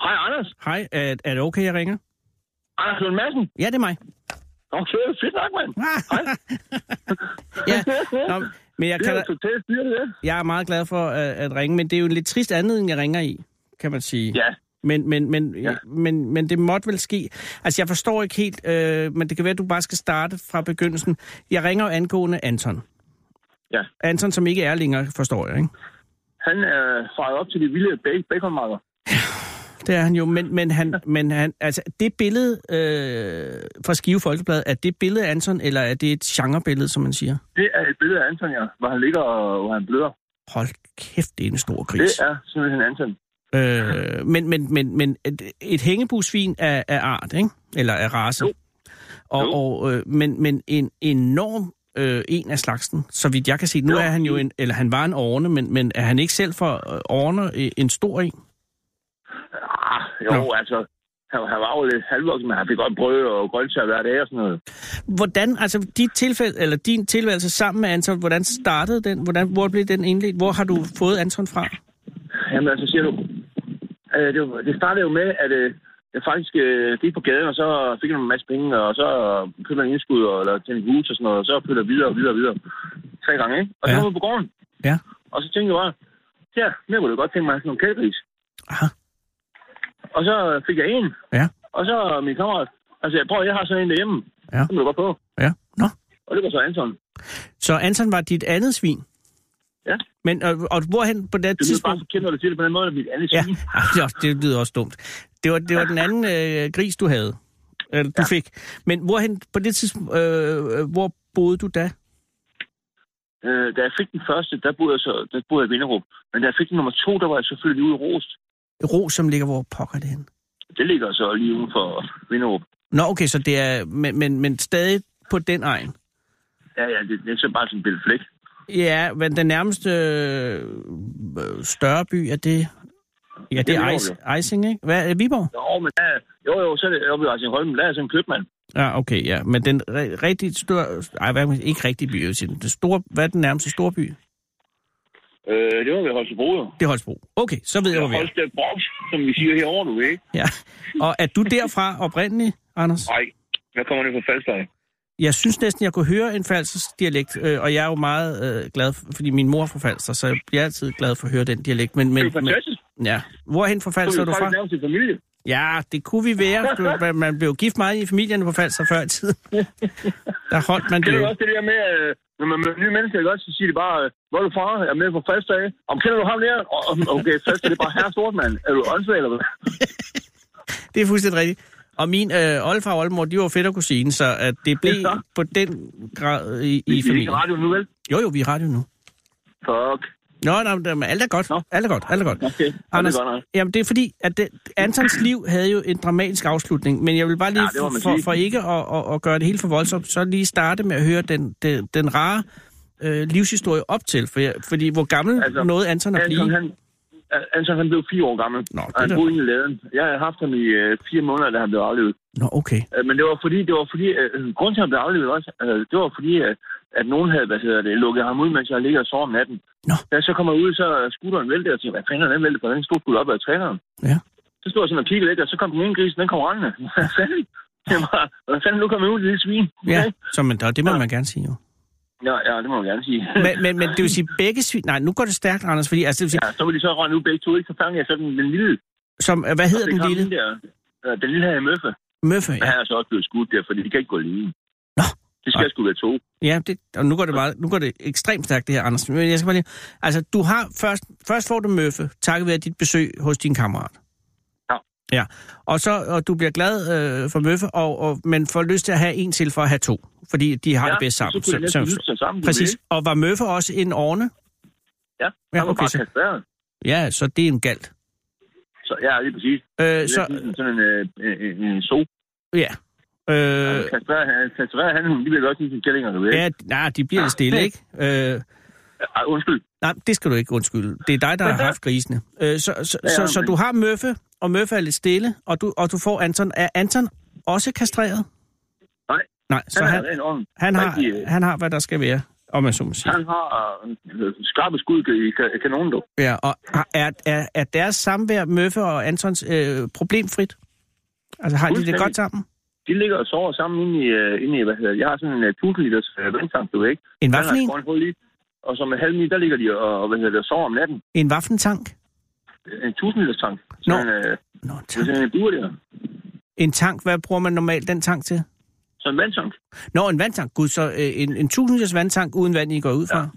E: Hej, Anders.
D: Hej, er, er det okay, jeg ringer?
E: Anders Lund Madsen.
D: Ja, det er mig.
E: Okay, fedt nok, mand.
D: ja, nå, men jeg,
E: Det
D: kan,
E: er totalt styrt, det.
D: jeg er meget glad for øh, at, at ringe, men det er jo en lidt trist anledning, jeg ringer i, kan man sige.
E: Ja,
D: Men, men, men, ja.
E: Ja.
D: men, men det måtte vel ske. Altså, jeg forstår ikke helt, øh, men det kan være, at du bare skal starte fra begyndelsen. Jeg ringer jo angående Anton.
E: Ja.
D: Anton, som ikke er længere, forstår jeg, ikke?
E: han er faret op til de vilde bag- baconmarker.
D: Det er han jo, men, men, han, men han, altså, det billede øh, fra Skive Folkeblad, er det billede af Anton, eller er det et genrebillede, som man siger?
E: Det er et billede af Anton, ja, hvor han ligger og hvor han bløder.
D: Hold kæft, det er en stor
E: Det
D: gris.
E: er simpelthen Anton.
D: Øh, men, men, men, men et, et hængebusvin af, af art, ikke? Eller af race.
E: Jo.
D: Og,
E: Jo.
D: og, øh, men, men en enorm øh, en af slagsen, så vidt jeg kan se. Nu
E: Jo.
D: er han jo en, eller han var en orne, men, men er han ikke selv for øh, orne øh, en stor en?
E: Ah, jo,
D: Nå.
E: altså, han, han var jo lidt halvvoksen, men han fik godt brød og grøntsager hver dag og sådan noget.
D: Hvordan, altså dit tilfælde, eller din tilværelse sammen med Anton, hvordan startede den? Hvordan, hvor blev den indledt? Hvor har du fået Anton fra?
E: Jamen altså, siger du, øh, det, var- det startede jo med, at øh, jeg faktisk øh, gik på gaden, og så fik jeg en masse penge, og så købte jeg en indskud, og, eller til en hus og sådan noget, og så pytter jeg videre og videre og videre. Tre gange, ikke? Og så
D: Ja.
E: ja. var jeg på gården.
D: Ja.
E: Og så tænkte jeg bare, ja, jeg kunne da godt tænke mig at have sådan nogle kælegris.
D: Aha.
E: Og så fik jeg en.
D: Ja.
E: Og så min kammerat, altså jeg prøver, jeg har sådan en derhjemme.
D: Ja.
E: Den må du godt på.
D: Ja. Nå.
E: Og det var så Anton.
D: Så Anton var dit andet svin?
E: Ja.
D: Men, øh, og, og hvorhen på det
E: Det lyder bare
D: tidspunkt?
E: forkert, når du siger det på den måde, at mit andet
D: Ja,
E: svin. Ja.
D: Ej, det, er også- det lyder også dumt. Det var, det var den anden øh, gris, du havde. Eller, du ja. fik. Men hvorhen, på det tidspunkt, øh, øh, hvor boede du da?
E: Øh, da jeg fik den første, der boede jeg, så, der boede jeg i Vinderup. Men da jeg fik den nummer to, der var jeg selvfølgelig ude i Rost.
D: Ro, som ligger hvor pokker er det hen?
E: Det ligger så lige uden for Vinderup.
D: Nå, okay, så det er, men, men, men stadig på den egen.
E: Ja, ja, det, det er så bare sådan en bitte flæk.
D: Ja, men den nærmeste øh, øh, større by, er det... Ja, det er
E: Viborg,
D: Eis, Eising, ikke? Hvad er det, Viborg?
E: Jo, men ja, jo, jo, så er det oppe i Racingholm, der er sådan en købmand.
D: Ja, okay, ja. Men den re- rigtig større... Ej, hvad, er det? ikke rigtig by, jeg vil sige. Den store, hvad er den nærmeste store by?
E: Øh, det var ved Holstebro, jo.
D: Det er Holstebro. Okay, så ved jeg, hvor vi er.
E: Holstebro, som vi siger herovre, du ved ikke?
D: Ja. Og er du derfra oprindelig, Anders?
E: Nej, jeg kommer ned på Falstad.
D: Jeg synes næsten, jeg kunne høre en falsk dialekt, øh, og jeg er jo meget øh, glad, for, fordi min mor er fra Falster, så jeg bliver altid glad for at høre den dialekt. Men,
E: Det er
D: men,
E: jo
D: men
E: fantastisk.
D: ja. Hvorhen fra Falster er du fra?
E: nærmest i familie.
D: Ja, det kunne vi være. Du- Man blev gift meget i familierne på Falster før i tiden. Der holdt man
E: Det
D: det
E: er jo
D: jo.
E: også det der med, øh, når man møder nye mennesker, ikke også, så siger de bare, øh, hvor er du fra? Jeg er med på Falstad. Om kender du ham der? Og- og- Okay, Falstad, det er bare herre stort, mand. Er du åndssvag, eller hvad?
D: Det er fuldstændig rigtigt. Og min øh, oldefar og oldemor, de var fedt og kusine, så at det blev
E: Ja.
D: på den grad i,
E: Vi
D: i
E: er ikke
D: familien.
E: i radioen nu, vel?
D: Jo, jo, vi er i radio nu.
E: Fuck.
D: Nå, nej, men alt er godt.
E: Nå.
D: Alt er godt, alt er godt.
E: Okay,
D: Anders,
E: det er godt nok.
D: Jamen, det er fordi, at det, Antons liv havde jo en dramatisk afslutning, men jeg vil bare lige,
E: Ja, det må
D: for,
E: man
D: for,
E: sige.
D: for ikke at, at, at gøre det helt for voldsomt, så lige starte med at høre den, den, den rare øh, livshistorie op til, for jeg, fordi hvor gammel altså,
E: Altså,
D: nåede Anton at
E: Anton,
D: blive?
E: han, An- Anton, han blev fire år gammel.
D: Nå,
E: og
D: det
E: han
D: er da-
E: boede inde i laden. Jeg har haft ham i øh, fire måneder, da han blev aflevet.
D: Nå, okay.
E: Øh, men det var fordi, det var fordi øh, grunden til, at han blev aflevet også, øh, det var fordi, øh, at nogen havde, hvad hedder det, lukket ham ud, mens jeg ligger og sover om natten.
D: Nå.
E: Da jeg så kommer ud, så er scooteren væltet, og tænker, hvad fanden er den væltet, for den stod skulle op af træneren.
D: Ja.
E: Så stod jeg sådan og kiggede lidt, og så kom den ene gris, den kom rendende. Hvad fanden? Jeg var, hvad fanden, nu kommer jeg ud, lille svin.
D: Ja,
E: Okay?
D: så, men, der- det må
E: Ja.
D: man gerne sige jo.
E: Ja, ja, det må man gerne sige.
D: Men, men, men det vil sige, begge svin... Nej, nu går det stærkt, Anders, fordi... Altså, det vil sige,
E: Ja, så var de så rende ud begge to, ikke? Så fangede jeg så den, den lille.
D: som, hvad hedder
E: Altså, Det
D: den
E: kom
D: lille?
E: hende Der, øh, den lille her i Møffe.
D: Møffe,
E: Men
D: ja.
E: han er så også blevet skudt der, fordi de kan ikke gå alene.
D: Nå.
E: Det skal sgu være to.
D: Ja, det, og nu går, det bare, nu går det ekstremt stærkt, det her, Anders. Men jeg skal bare lige... Altså, du har først, først får du møffe, takket være dit besøg hos din kammerat.
E: Ja.
D: Ja, og, så, og du bliver glad øh, for møffe, og, og, men får lyst til at have en til for at have to, fordi de har
E: ja,
D: det bedst sammen.
E: Så kunne de næsten
D: Så- så-
E: hygge sig sammen. du
D: præcis.
E: ved, ikke?
D: Og var møffe også en orne?
E: Ja,
D: Ja,
E: ja okay,
D: okay,
E: bare
D: så-
E: kastreret.
D: Ja, så det er en galt.
E: Så, ja, lige præcis.
D: Øh,
E: Så,
D: så,
E: sådan en, øh, en, en, en so.
D: ja.
E: Øh,
D: Øh,
E: kastreret, han, kastreret, han, de bliver godt sådan kællinger, du ved. ikke?
D: ja, nej, de bliver lidt stille, ikke? Øh,
E: Ej, undskyld.
D: nej, det skal du ikke undskylde. Det er dig, der har haft grisene. Øh, så, så,
E: Ja,
D: så, så
E: men-
D: du har møffe, og møffe er lidt stille, og du, og du får Anton. Er Anton også kastreret?
E: Nej.
D: Nej, så
E: Han,
D: han,
E: er ren ånd.
D: han,
E: rigtig,
D: har,
E: øh,
D: han har, hvad der skal være, om man så må sige.
E: Han har øh, skarpe skud i ka- kanonen, du.
D: Ja, og har- er, er, er deres samvær, Møffe og Antons, øh, problemfrit? Altså har de det
E: Fuldstændig.
D: godt sammen?
E: De ligger og sover sammen inde i, øh, inde i hvad hedder det, Jeg har sådan en øh, 1000 liters øh, vandtank, du ved ikke?
D: En
E: Den har
D: vaffelin?
E: et grønt hul i. Og som en halv ni, der ligger de og, og hvad hedder det, og sover om natten.
D: En vaffeltank?
E: En 1000 liters tank.
D: Nå.
E: Sådan, øh,
D: Nå,
E: det er
D: tank.
E: sådan en bur der.
D: En tank, hvad bruger man normalt den tank til?
E: Så en vandtank.
D: Nå, en vandtank. Gud, så øh, en, en 1000 liters vandtank uden vand, I går ud fra?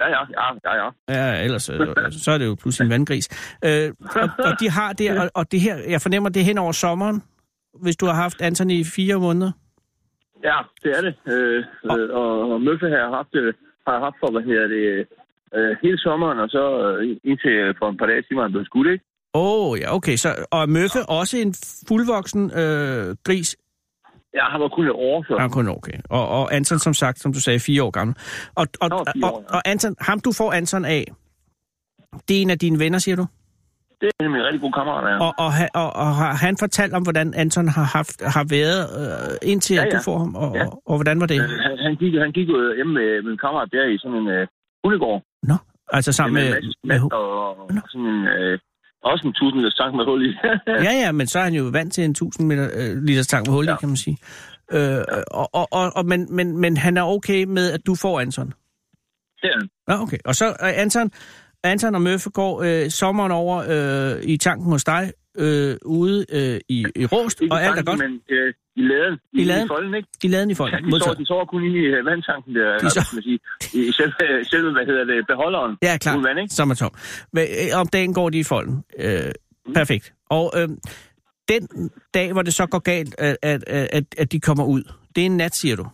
E: Ja, ja, ja, ja, ja.
D: Ja, ja ellers øh, så er det jo pludselig en vandgris. Øh, og, og de har det, og, og det her, jeg fornemmer det er hen over sommeren, hvis du har haft Anton i fire måneder.
E: Ja, det er det. Øh, øh, og, og Møffe har jeg haft, øh, har jeg haft for, hvad hedder det, øh, hele sommeren, og så øh, indtil øh, for et par dage siden, var han blev skudt, ikke?
D: Åh, oh, ja, okay. Så, og er Møffe også en fuldvoksen øh, gris,
E: Ja, han var kun et år, så.
D: Ja, Han er kun okay. Og, og Anton, som sagt, som du sagde, fire år gammel. Og, og,
E: Nå,
D: og,
E: fire år,
D: og,
E: ja.
D: og Anton, ham du får Anton af, det er en af dine venner, siger du?
E: Det er nemlig en rigtig god kammerat, ja.
D: Og, og, ha- og, og har han fortalt om, hvordan Anton har haft har været øh, indtil, ja,
E: Ja,
D: ja. at du
E: ja.
D: får ham? Og,
E: Ja.
D: ja. og, og hvordan var det?
E: Øh, Han, han, gik, han gik jo hjemme med min kammerat der i sådan en øh, hundegård.
D: Nå, altså sammen med...
E: Mads,
D: med,
E: Mads
D: med
E: og, og sådan en, øh, også en tusind der sang med hul i.
D: ja, ja, men så er han jo vant til en 1000 meter, øh, liters tank med hul, ja.
E: Ja.
D: kan man sige. Øh, og, og, og, og, men, men, men han er okay med, at du får Anton?
E: Det er han.
D: Ja, okay. Og så øh, Anton, Anton og Møffe går øh, sommeren over øh, i tanken hos dig, øh, ude øh, i, i Råst,
E: Ikke
D: og alt er
E: tanken,
D: godt.
E: Men øh, i laden.
D: I laden?
E: I folden, ikke?
D: I laden i folk.
E: Ja, de, sover,
D: Modtaget.
E: de sover kun inde i øh, vandtanken der. eller
D: sover-
E: hvad skal man sige, I, i selve, selve, hvad hedder det, beholderen.
D: Ja, klar.
E: Uden vand, ikke?
D: Som er tom. Men, øh, om dagen går de i folden. Øh,
E: Mm.
D: perfekt. Og øh, den dag, hvor det så går galt, at, at, at, at de kommer ud, det er en nat, siger du.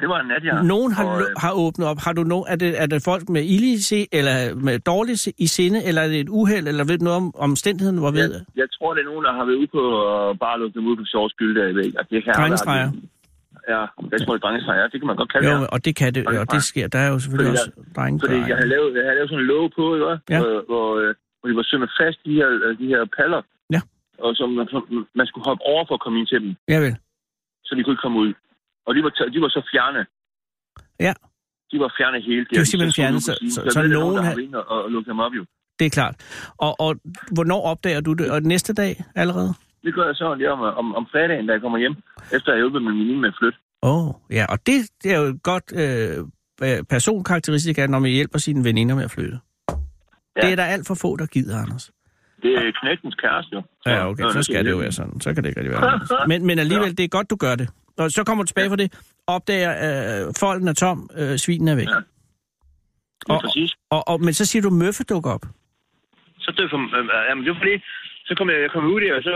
E: Det var en nat, ja.
D: Nogen har,
E: Og,
D: lu-
E: øh,
D: har åbnet op. Har du no- er, det, er det folk med ilde i se, eller med dårligt se- i sinde, eller er det et uheld, eller ved du noget om omstændigheden, hvor
E: jeg,
D: ved
E: jeg, tror, det er nogen, der har været ude på og bare lukket dem ud på sjov skyld der i væk. Altså, det kan
D: drengestreger?
E: Ja, jeg tror, det er drengestreger. Ja, Det kan man godt kalde det.
D: Jo, og det kan det, og det sker. Der er jo selvfølgelig
E: Fordi
D: også drenge.
E: Fordi
D: der-
E: jeg havde lavet, jeg havde lavet sådan en låge på, ikke?
D: Ja.
E: Ja. Hvor, hvor, øh, hvor de var sømmet fast i de her, øh, de her paller.
D: Ja.
E: Og som man, som man skulle hoppe over for at komme ind til dem,
D: Ja, vel.
E: så de kunne ikke komme ud. Og de var, t- de var så fjerne.
D: Ja.
E: De var fjerne hele
D: De var simpelthen fjerne, så- så- så nogen
E: havde...
D: havde-
E: Der har været inde og, og lukket dem op, jo.
D: Det er klart. Og, og hvornår opdager du det? Og næste dag allerede?
E: Det gør jeg så lige om, om, om fredagen, da jeg kommer hjem, efter jeg har hjulpet min veninde med at flytte.
D: Åh, oh, ja. Og det, det er jo et godt øh, øh, personkarakteristik, at når man hjælper sine veninder med at flytte. Ja.
E: Ja.
D: Det er der alt for få, der gider, Anders.
E: Det er knægtens kæreste, jo.
D: Ja, okay. Så skal det jo være sådan. Så kan det ikke rigtig være anderledes. Men, men alligevel, det er godt, du gør det. Og så kommer du tilbage fra det, opdager, øh, folden er tom, øh, svinen er væk.
E: Ja.
D: Og,
E: Og, præcis.
D: og, og, men så siger du, møffe dukker op.
E: så døde for, øh, jamen, det var fordi, så kom jeg, jeg kom ud der, og så,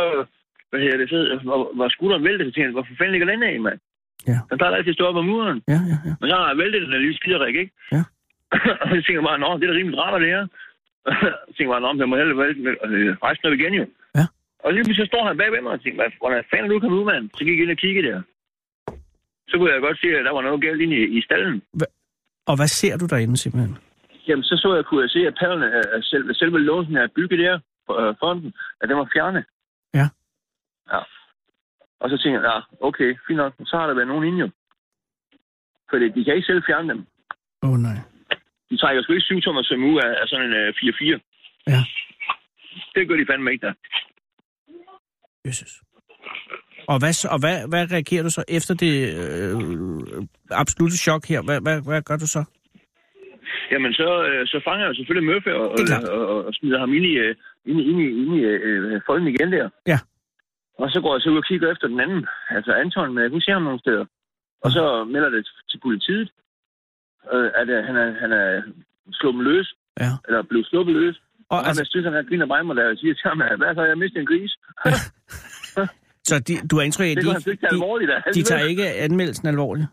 E: hvad hedder det, så var, var skulderen væltet, så tænkte jeg, hvorfor fanden ligger den af, mand?
D: Ja.
E: Den plejer altid at stå op om muren,
D: Ja, ja, ja.
E: men så har jeg væltet den, og lige skiderik, ikke?
D: Ja.
E: og så tænkte jeg bare, nå, det er da rimelig drama, det her. så tænkte jeg bare, nå, men jeg må hellere vælte med, øh, rejse den op igen, jo.
D: Ja.
E: Og lige pludselig så står han bagved mig og tænkte, "Hvad- hvordan fanden er du kommet ud, mand? Så gik jeg ind og kiggede der. Så kunne jeg godt se, at der var noget galt inde i, i stallen.
D: Og hvad ser du derinde simpelthen?
E: Jamen, så så jeg, kunne jeg se, at pallerne, af- af selve, selve låsen af bygget der, øh, fonden, at den var fjernet.
D: Ja.
E: Ja. Og så tænkte jeg, ja, okay, fint nok, så har der været nogen inde jo. Fordi de kan ikke selv fjerne dem.
D: Åh, oh, nej.
E: De trækker sgu ikke syv tommer som uge af, af sådan en øh, 4-4.
D: Ja.
E: Det gør de fandme ikke der.
D: Jesus. Og hvad, så- og hvad, hvad reagerer du så efter det øh, absolute chok her? Hvad, hvad, hvad gør du så?
E: Jamen, så, øh, så fanger jeg selvfølgelig Murphy og, og,
D: Det er klart.
E: og, og, og smider ham ind i, øh, ind, i- ind, i- ind i øh, folden igen der.
D: Ja.
E: Og så går jeg så ud og kigger efter den anden, altså Anton, men jeg kunne se ham nogle steder. Og så melder det til politiet, øh, at øh, han er, han er slået dem løs,
D: Ja.
E: eller blev sluppet løs. Og, og altså... jeg synes, han griner mig mig, og siger til ham, hvad så, jeg mistede en gris.
D: Så de, du har indtryk af, at
E: Det
D: de,
E: kunne han sgu ikke tage alvorligt,
D: de,
E: altså.
D: de tager ikke anmeldelsen alvorligt?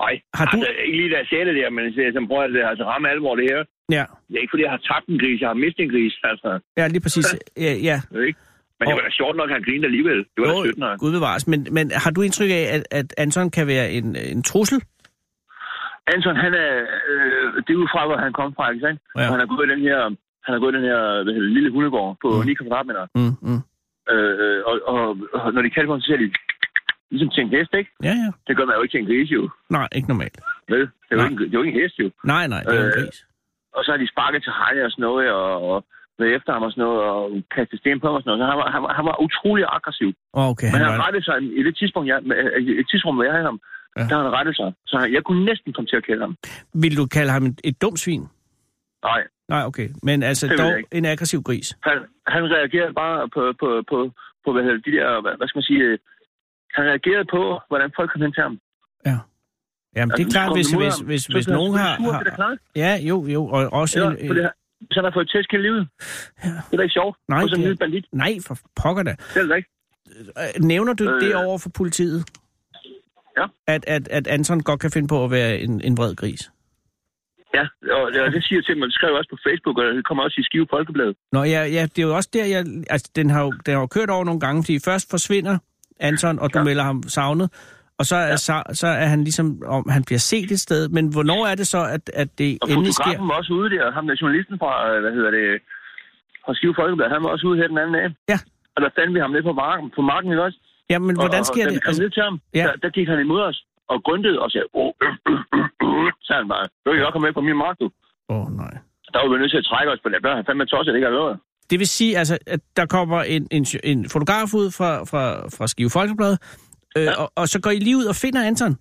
E: Nej,
D: Har du-
E: altså, ikke lige der sjæle der, men jeg som prøver, at det er altså ramme alvor, det her.
D: Ja,
E: Det er ikke, fordi jeg har tabt en gris, jeg har mistet en gris, altså.
D: ja lige præcis. Ja, ja.
E: Det er ikke? Men det var da sjovt nok, at han grinede alligevel. Det var da sødt nok.
D: Gud bevares. Men, men har du indtryk af, at, at Anton kan være en, en trussel?
E: Anton, han er, øh, det er ud fra, hvor han kom fra, ikke sandt?
D: Ja.
E: Ja. Han har gået i den her, han har gået i den her hvad hedder, det, lille hundegård på
D: Mm.
E: mm. 9 kvadratmeter.
D: Mm, mm.
E: Øh, øh, og, og, og, når de kalder på ham, så siger de, ligesom til en hest, ikke?
D: Ja, ja.
E: Det gør man jo ikke til en gris, jo.
D: Nej, ikke normalt.
E: Vel? Det er jo
D: Nej.
E: ikke, en- det er jo ikke en hest, jo.
D: Nej, nej, det er en
E: Øh,
D: gris.
E: Og så har de sparket til Heine og sådan noget, og, og været efter ham og sådan noget, og kastet sten på ham og sådan noget. Så han var, han var, han var utrolig aggressiv.
D: Okay,
E: Men
D: han
E: han
D: var...
E: rettede sig i det tidspunkt, jeg, i det tidsrum, hvor jeg havde ham,
D: Ja.
E: ja. der har han rettet sig. Så han, jeg kunne næsten komme til at kende ham.
D: Vil du kalde ham et, et dumt svin?
E: Nej,
D: Nej, okay. Men altså
E: Det vil jeg
D: dog
E: ikke.
D: en aggressiv gris.
E: han, han reagerede bare på, på, på, på hvad hedder de der, hvad, hvad skal man sige, øh, han reagerede på, hvordan folk kom hen til ham.
D: Jamen, det er
E: Altså,
D: klart,
E: kom
D: hvis,
E: imod
D: hvis,
E: ham,
D: hvis,
E: så
D: hvis
E: blev han
D: nogen
E: sgu
D: har...
E: sur, det er da
D: har
E: klart.
D: ja, jo, jo. Og også
E: Ja,
D: en,
E: fordi
D: en,
E: han- så han har fået tæsk hele livet.
D: Ja.
E: Det er da ikke sjovt.
D: Nej,
E: Nej, og som
D: det
E: en
D: er-
E: lille bandit.
D: Nej, for pokker da.
E: Det er det da ikke.
D: Øh, Nævner du øh,
E: Øh.
D: det over for politiet?
E: Ja.
D: At, at, at Anton godt kan finde på at være en, en vred gris?
E: Ja, og, og det siger jeg til mig. Det skrev jeg også på Facebook, og det kommer også i Skive Folkeblad.
D: Nå ja, ja, det er jo også der, jeg... Altså, den har, jo, den har jo kørt over nogle gange, fordi først forsvinder Anton, og du ja. melder ham savnet, og så er, ja. så, så er han ligesom, om han bliver set et sted, men hvornår er det så, at, at det
E: Og
D: endelig
E: fotografen
D: sker?
E: var også ude der. Ham der journalisten fra, øh, hvad hedder det, fra Skive Folkeblad, han var også ude her den anden dag.
D: Ja.
E: Og der fandt vi ham nede på marken, på marken ikke også?
D: Ja, men hvordan sker
E: og, og,
D: det? Altså-
E: Og kom ned til ham,
D: ja.
E: ja. der, der, gik han imod os og grøntede og sagde, åh, øh, øh, øh, øh, sagde han bare, du kan godt komme med på min mark, du.
D: Åh, oh, nej.
E: Der var vi nødt til at trække os på det. Der han fandme tosset, ikke har lovet.
D: Det vil sige, altså, at der kommer en, en, en fotograf ud fra, fra, fra Skive Folkeblad, øh, ja. og, og så går I lige ud og finder Anton?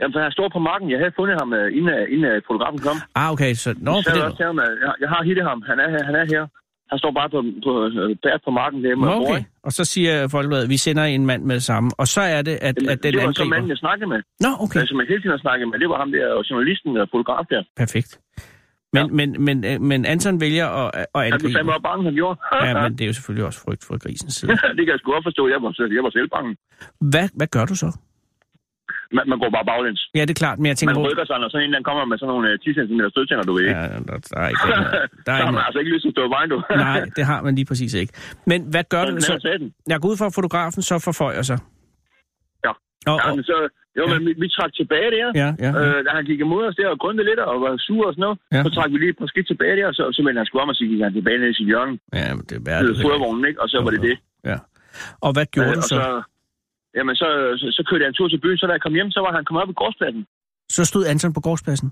E: Jamen, for han stod på marken. Jeg havde fundet ham, øh, inden, øh, inden øh, fotografen kom.
D: Ah, okay, så... Nå,
E: så
D: på
E: jeg
D: den
E: også til ham, at jeg, jeg har hittet ham. Han er her. Han, er her. han står bare på, på, øh, bag på marken derhjemme.
D: Nå,
E: og bor,
D: okay.
E: ikke?
D: Og så siger Folkebladet, vi sender en mand med det samme, og så er det, at,
E: Jamen,
D: at den
E: det var så manden,
D: angriber.
E: jeg snakkede med.
D: Nå,
E: Okay.
D: okay,
E: Altså, man hele tiden har snakket med. Det var ham der, og journalisten og fotograf der.
D: perfekt. Men,
E: Ja.
D: men, men, øh, men Anton vælger at, at
E: Han blev
D: angribe.
E: fandme også bange, han gjorde.
D: Ja, men det er jo selvfølgelig også frygt for grisens side.
E: det kan jeg sgu godt forstå. Jeg var, selv- jeg var selv bange.
D: Hvad, hvad gør du så?
E: Man, man går bare baglæns.
D: Ja, det er klart, men jeg tænker
E: Man
D: på...
E: rykker sig, når sådan en der kommer med sådan nogle øh, 10 cm stødtænder, du ved ikke.
D: Ja, der, der er ikke noget. Der
E: Så
D: er
E: har man
D: ikke
E: altså ikke lyst til at stå i vejen, du. altså,
D: Nej, det har man lige præcis ikke. Men hvad gør du
E: så,
D: så?
E: så,
D: Jeg går ud fra, at fotografen så forføjer sig.
E: Ja.
D: Og,
E: Ja,
D: og,
E: men så, jo, men vi, vi trak tilbage der.
D: ja, ja.
E: Øh, da han gik imod os der og grundede lidt og var sur og sådan noget,
D: Mhm. Ja.
E: ja. så trak vi lige et par skridt tilbage der, og så, så vendte han sgu om og så gik han tilbage ned i sit hjørne
D: ja, men det er
E: ja,
D: værd.
E: fodvognen, ikke? Og så var det det.
D: Ja. Og hvad gjorde
E: Øh,
D: du
E: og
D: så?
E: Jamen, så, så, så kørte jeg en tur til byen, så da jeg kom hjem, så var han kommet op i gårdspladsen.
D: Så stod Anton på gårdspladsen.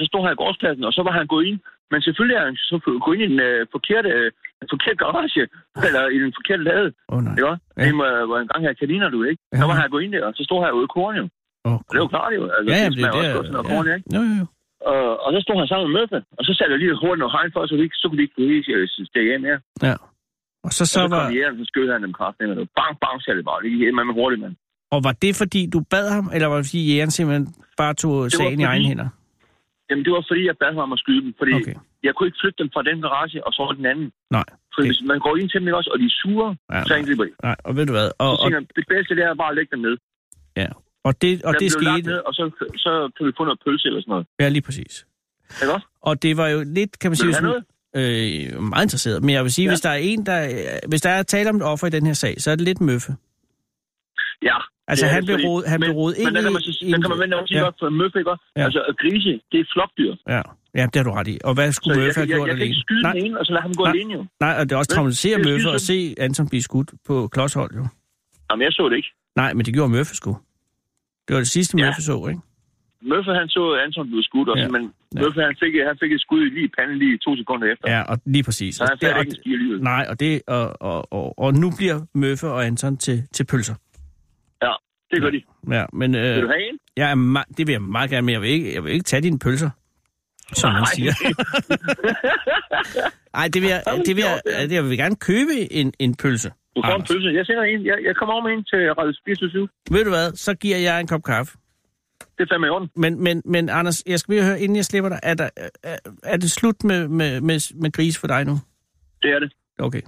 E: Så stod han i gårdspladsen, og så var han gået ind. Men selvfølgelig er han så gået ind i den øh, forkerte, øh, den forkerte garage, eller i den forkerte lade,
D: Åh, oh, nej.
E: ikke?
D: Ja.
E: Ja. Det var, var en gang her kaniner, du ikke?
D: Ja.
E: Så var han gået ind der, og så stod han ude i korn, jo.
D: Åh,
E: Og Det var klart, jo. Altså,
D: Ja, ja,
E: det
D: det,
E: smager
D: det
E: også
D: er...
E: godt, sådan noget korn,
D: ja.
E: ikke?
D: Jo, jo, jo.
E: Og, og så stod han sammen med Møffe, og så satte jeg lige hurtigt noget hegn for, så, vi ikke, så kunne de ikke lige øh, stikke af mere.
D: Ja. Og så, så
E: Så, så kom de
D: var,
E: hjem, så skød han dem kraftigt. og Bang, bang, sagde det bare. Lige hjemme med hurtigt, mand.
D: og var det fordi, du bad ham, eller var det fordi, jægeren simpelthen bare tog
E: var
D: sagen i egen
E: fordi-
D: hænder?
E: Jamen, det var fordi, jeg bad ham om at skyde dem, fordi
D: Okay.
E: okay. jeg kunne ikke flytte dem fra den garage og så den anden.
D: Nej.
E: For
D: Det-
E: hvis man går ind til dem, ikke også, og de er sure,
D: Ja,
E: ja, så angriber de.
D: Nej, og ved du hvad? Og,
E: Så
D: og,
E: tænker jeg, det bedste det er bare at lægge dem ned.
D: ja. og det, og
E: Lad dem
D: det
E: blive lagt
D: skete...
E: Ned, og så, så kan vi få noget pølse eller sådan noget.
D: Ja, lige præcis.
E: Ikke også?
D: Og det var jo lidt, kan man
E: Vil
D: sige,
E: du have
D: sådan, øh, meget interesseret. Men jeg vil sige, ja.
E: Ja.
D: hvis der er en, der, øh, hvis der er tale om et offer i den her sag, så er det lidt møffe.
E: Ja.
D: Altså,
E: det er
D: han
E: det,
D: blev
E: fordi-
D: rodet- han
E: men-
D: blev rodet ind
E: Men der kan
D: i-
E: man, så,
D: i
E: der
D: en-
E: kan man vente om
D: Ja.
E: sige, ja. for møffe, ikke også?
D: Ja.
E: Altså, grise, det er flokdyr.
D: Ja. ja, det har du ret i. Og hvad
E: Så
D: skulle
E: jeg,
D: Møffe
E: kan-
D: have
E: jeg,
D: gjort
E: jeg kan ikke
D: alene?
E: skyde
D: Nej,
E: den ene, og så lade ham gå
D: Nej.
E: alene jo.
D: nej, og det er også
E: Vel,
D: traumatiserer
E: det er
D: Møffe at se
E: skidesødt.
D: Anton blive skudt på klodshold, jo.
E: Jamen, jeg så det ikke.
D: Nej, men det gjorde Møffe sgu. Det var det sidste,
E: Ja.
D: Møffe så, ikke?
E: Møffe, han så Anton blive skudt, og
D: Ja.
E: ja. men
D: Ja.
E: Møffe, han fik, han fik et skud lige i panden lige to sekunder efter.
D: Ja, og lige præcis. Altså,
E: Så han
D: det,
E: fandt
D: og,
E: ikke en skid alligevel.
D: nej, og, det, og, og, og, og nu bliver Møffe og Anton til, til pølser.
E: Ja, det gør de.
D: Ja, men øh,
E: Vil du have en?
D: jeg er me- det vil jeg meget gerne, men jeg vil ikke, jeg vil ikke tage dine pølser, som han
E: Nej.
D: siger. Nej, det vil jeg, det vil jeg, det vil jeg vil gerne købe en, en pølse.
E: Du får en
D: Anders.
E: pølse. Jeg sender en. Jeg, jeg kommer over med en til Radio 24
D: Ved du hvad, så giver jeg en kop kaffe.
H: Det er fandme i orden.
D: Men, men, men Anders, jeg skal lige høre, inden jeg slipper dig, er, der, er, er det slut med, med, med, med gris for dig nu?
H: Det er det.
D: Okay.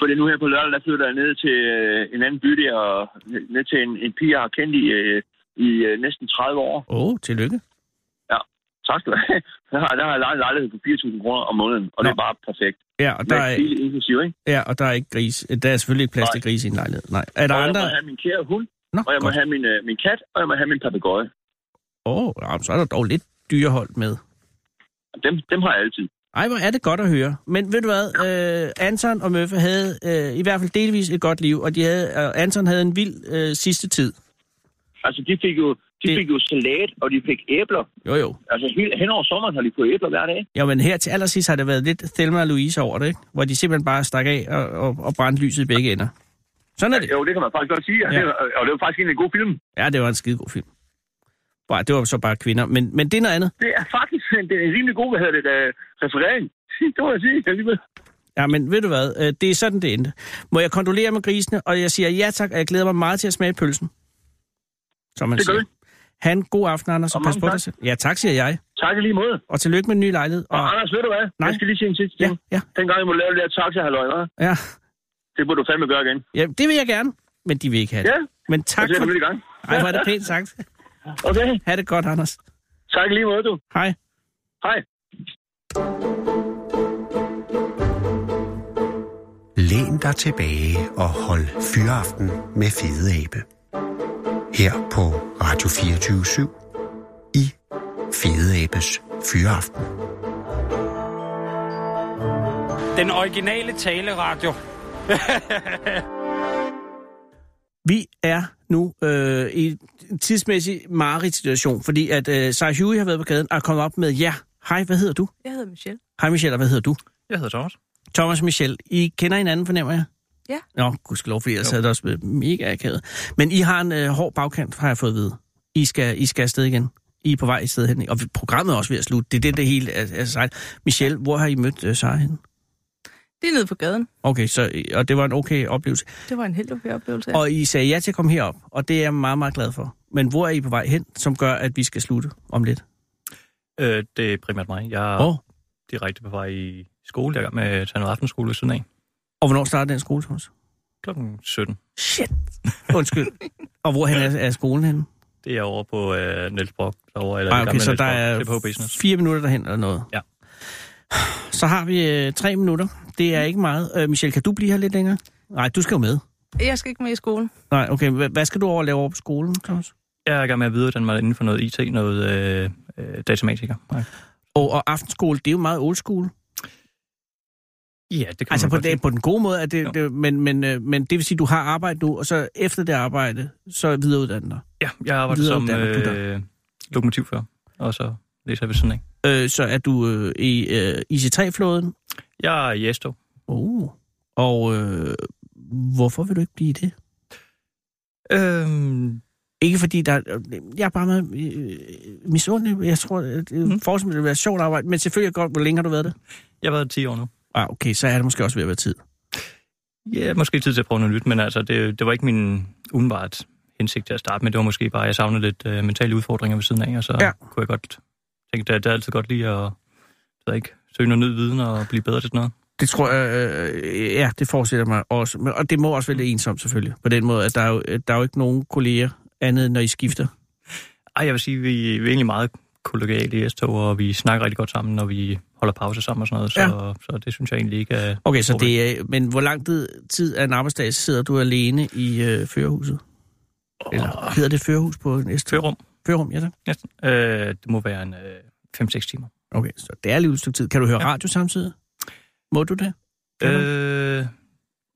H: Fordi nu her på lørdag, der flytter jeg ned til øh, en anden by der, og ned til en, en pige, jeg har kendt i, øh, i øh, næsten 30 år.
D: Åh, oh, tillykke.
H: Tak skal du have. Der har, der har jeg lejet en lejlighed på 4.000 kroner om måneden, og Nå. det er bare perfekt.
D: Ja, og der
H: Med
D: er,
H: hele inklusiv, ikke?
D: ja, og der er ikke gris. Der er selvfølgelig ikke plads
H: Nej.
D: til gris i en lejlighed. Nej. Er der
H: og jeg
D: andre?
H: må have min kære hund,
D: Nå,
H: og jeg må
D: godt.
H: have min, øh, min kat, og jeg må have min papegøje.
D: Åh, oh, så er der dog lidt dyrehold med.
H: Dem, dem har jeg altid.
D: Ej, hvor er det godt at høre. Men ved du hvad, øh, Anton og Møffe havde øh, i hvert fald delvis et godt liv, og de havde, øh, Anton havde en vild øh, sidste tid.
H: Altså, de fik jo, de
D: Det-
H: fik jo salat, og de fik æbler.
D: Jo, jo.
H: Altså, hele, hen over sommeren har de fået æbler hver dag.
D: Jo, men her til allersidst har det været lidt Thelma og Louise over det, ikke? Hvor de simpelthen bare stak af og, og, og brændte lyset i begge ender. Sådan er det.
H: Jo, det kan man faktisk godt sige. Ja.
D: Ja.
H: Det, var- og det var faktisk en af de gode film.
D: Ja, det var en skidegod film. Bare, det var så bare kvinder, men, men det er noget andet.
H: Det er faktisk en, det er en rimelig god, hvad hedder det, øh, referering. det må jeg sige alligevel.
D: Ja, men ved du hvad, øh, det er sådan, det endte. Må jeg kondolere med grisene, og jeg siger ja tak, og jeg glæder mig meget til at smage pølsen. Som man
H: Det gør
D: siger.
H: vi.
D: Han, god aften, Anders, og,
H: Og
D: pas
H: mange
D: på
H: tak.
D: dig selv. Ja, tak, siger jeg.
H: Tak i lige måde.
D: Og tillykke med den nye lejlighed.
H: Og
D: Og,
H: Anders, ved du hvad?
D: Nej.
H: Jeg skal lige sige en sidste
D: ja,
H: ting.
D: ja,
H: Dengang jeg må lave det der taxa-halløj, hva'?
D: ja,
H: det burde du fandme gøre igen.
D: ja. Det vil jeg gerne, men de vil ikke have det.
H: Ja,
D: Men
H: tak
D: tak
H: jeg ser
D: for...
H: for... i gang.
D: Ej, hvor er det pænt sagt.
H: Okay,
D: Ha' det godt, Anders.
H: tak i lige måde, du.
D: Hej.
H: Hej.
C: Læn dig tilbage og hold fyraften med Fede Abe. Her på Radio 24 i Fede Abes Fyraften.
F: Den originale taleradio.
D: Vi er nu øh, i en tidsmæssig mareridt situation, fordi at øh, Sarah Huey har været på gaden og er kommet op med, ja, hej, hvad hedder du?
I: Jeg hedder Michelle.
D: Hej Michelle, og hvad hedder du?
J: Jeg hedder Thomas.
D: Thomas og Michelle, I kender hinanden, fornemmer jeg?
I: Ja.
D: Nå, gudskelov, for ellers havde det også været mega akavet. Men I har en øh, hård bagkant, har jeg fået at vide. I skal, I skal afsted igen. I er på vej i sted hen. Og programmet er også ved at slutte. Det er det, det hele er, er sejt. Michelle, hvor har I mødt øh, Sara henne?
I: Det er nede på gaden.
D: Okay, så, og det var en okay oplevelse.
I: Det var en helt okay oplevelse.
D: Og I sagde ja til at komme herop, og det er jeg meget, meget glad for. Men hvor er I på vej hen, som gør, at vi skal slutte om lidt?
J: Øh, det er primært mig. Jeg er
D: Hvor?
J: oh. direkte på vej i skole. Jeg er i gang med at tage noget aftenskole ved siden af.
D: Og hvornår starter den skole, Thomas?
J: Klokken 17.
D: Shit! Undskyld. og hvorhen er, er skolen henne?
J: Det er over på øh, Niels Brock. Derovre, eller
D: Ej,
J: det
D: Ah, okay,
J: gamle
D: så
J: Niels
D: der
J: Brock. Det er
D: er
J: på business.
D: fire minutter derhen eller noget.
J: Ja.
D: Så har vi øh, tre minutter. Det er ikke meget. Øh, Michelle, kan du blive her lidt længere? Nej, du skal jo med.
I: Jeg skal ikke med i skolen.
D: Nej, okay. Hva- Hvad skal du over og lave over på skolen, Thomas?
J: Jeg er i gang med at videreuddanne mig inden for noget IT, noget øh, øh, datamatiker. Nej.
D: Og, og aftenskole, det er jo meget old school.
J: Ja, det kan
D: Altså
J: man
D: på,
J: godt
D: det,
J: sige.
D: på den gode måde, er
J: Jo.
D: det, det, men, men, øh, men det vil sige, at du har arbejde nu, og så efter det arbejde, så videreuddanne dig.
J: Ja, jeg arbejder som
D: Videreuddanner du dig?
J: øh, lokomotivfører, og så læser jeg ved siden af.
D: Øh, så er du øh, i øh, IC3-flåden.
J: Jeg er i Esto.
D: Uh. Og øh, hvorfor vil du ikke blive det?
J: Øhm,
D: Ikke fordi der... Jeg er bare meget øh, misundelig. Jeg tror, at det mm.
J: Mm.
D: fortsat vil være sjovt arbejde, men selvfølgelig er det godt, hvor længe har du været det?
J: jeg har været 10 år nu.
D: Ah, okay, så er det måske også ved at være tid.
J: Ja, måske tid til at prøve noget nyt, men altså, det, det var ikke min umiddelbart hensigt til at starte med. Det var måske bare, at jeg savnede lidt øh, mentale udfordringer ved siden af, og så
D: Ja.
J: ja. kunne jeg godt tænke, at det er altid godt lige at så ikke, søge noget ny viden og blive bedre til sådan noget.
D: Det tror jeg... Øh, ja, det forestiller mig også. Men, og det må også være lidt ensomt, selvfølgelig. På den måde, at der er jo, der er jo ikke nogen kolleger andet, end når I skifter.
J: Ej, jeg vil sige, vi, vi er egentlig meget kollegiale i s og vi snakker rigtig godt sammen, når vi holder pause sammen og sådan noget, så,
D: Ja.
J: ja. så det synes jeg egentlig ikke er...
D: Okay, så det er... Men hvor lang tid, tid af en arbejdsdag sidder du alene i øh, førerhuset? Eller hedder det førerhus på næste?
J: Tørum,
D: Førerum, ja da.
J: næsten. Øh, det må være en øh, 5-6 timer.
D: Okay, så det er alligevel et stykke tid. Kan du høre radio samtidig? Må du det? Kan du?
J: Øh,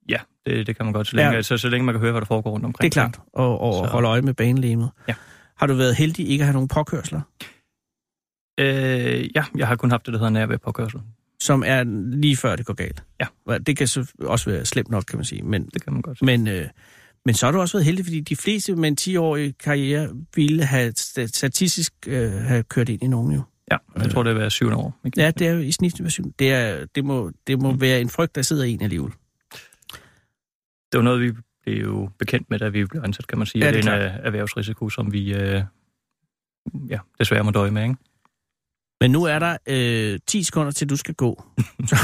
J: ja, det, det kan man godt, så længe,
D: Ja.
J: ja. så, så længe man kan høre, hvad der foregår rundt
D: Det er
J: omkring.
D: klart. Og, og
J: Så-
D: holde øje med banelæmet.
J: Ja.
D: Har du været heldig ikke at have nogen påkørsler,
J: Øh, ja, jeg har kun haft det, der hedder nærvær påkørsel.
D: som er lige før det går galt?
J: Ja.
D: Hva- Det kan så også være slemt nok, kan man sige. Men,
J: Det kan man godt sige.
D: men, øh, men så har du også været heldig, fordi de fleste med en 10-årig karriere ville have sta- statistisk øh, have kørt ind i nogen jo.
J: Ja, jeg tror, det er hver syvende år. Ikke?
D: Ja, det er jo i snit. Det, er, det, må, det må
J: Mm.
D: være en frygt, der sidder i en alligevel.
J: det var noget, vi blev jo bekendt med, da vi blev ansat, kan man sige.
D: Ja,
J: Ja,
D: det
J: det,
D: er
J: er en øh, erhvervsrisiko, som vi øh, ja, desværre må døje med, ikke?
D: Men nu er der øh, 10 sekunder til, du skal gå. så,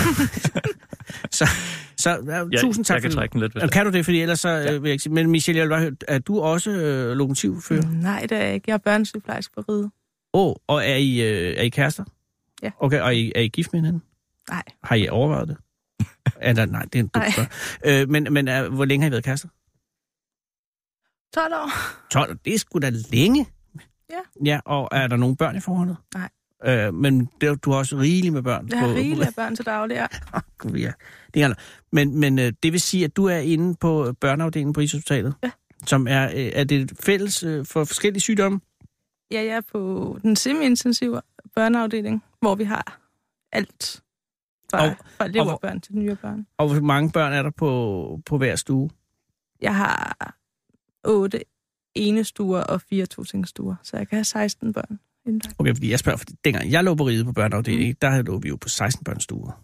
D: så, så ja,
J: Jeg,
D: tusind tak.
J: jeg kan
D: for,
J: trække den lidt, hvis
D: Jamen,
J: det er.
D: kan du det, fordi ellers så ja. øh, vil jeg ikke sige. Men Michelle, jeg vil bare høre, er du også øh, lokomotivfører? Åh,
I: Nej, det er jeg ikke. Jeg er børnesygeplejerske på ride.
J: Mm.
D: oh, og er I, øh, er I kærester?
I: Ja.
D: Okay, og er I, er I gift med hinanden?
I: Nej.
D: Har I overvejet det? er der, nej, det er en
I: Nej.
D: dumt spørgsmål. øh, Men, men er, hvor længe har I været kærester?
I: 12 år?
D: 12, det er sgu da længe.
I: Ja.
D: Ja, og er der nogen børn i forholdet?
I: Nej.
D: Øh, men det, du har også rigeligt med børn.
I: Jeg har rigeligt af børn til daglig. Ja.
D: Gud, ja. Det er, men men øh, det vil sige, at du er inde på børneafdelingen på Rigshospitalet?
I: Ja.
D: Som er, øh, er det fælles øh, for forskellige sygdomme?
I: ja, jeg er på den semi-intensive børneafdeling, hvor vi har alt. Fra,
D: Og-
I: fra
D: og-
I: leverbørn til nyere børn.
D: Og hvor mange børn er der på, på hver stue?
I: Jeg har otte enestuer og fire totingstuer, så jeg kan have 16 børn. indlagt.
D: Okay, fordi jeg spørger, fordi dengang jeg lå på riget på børneafdelingen, mm. der lå vi jo på 16 børnestuer.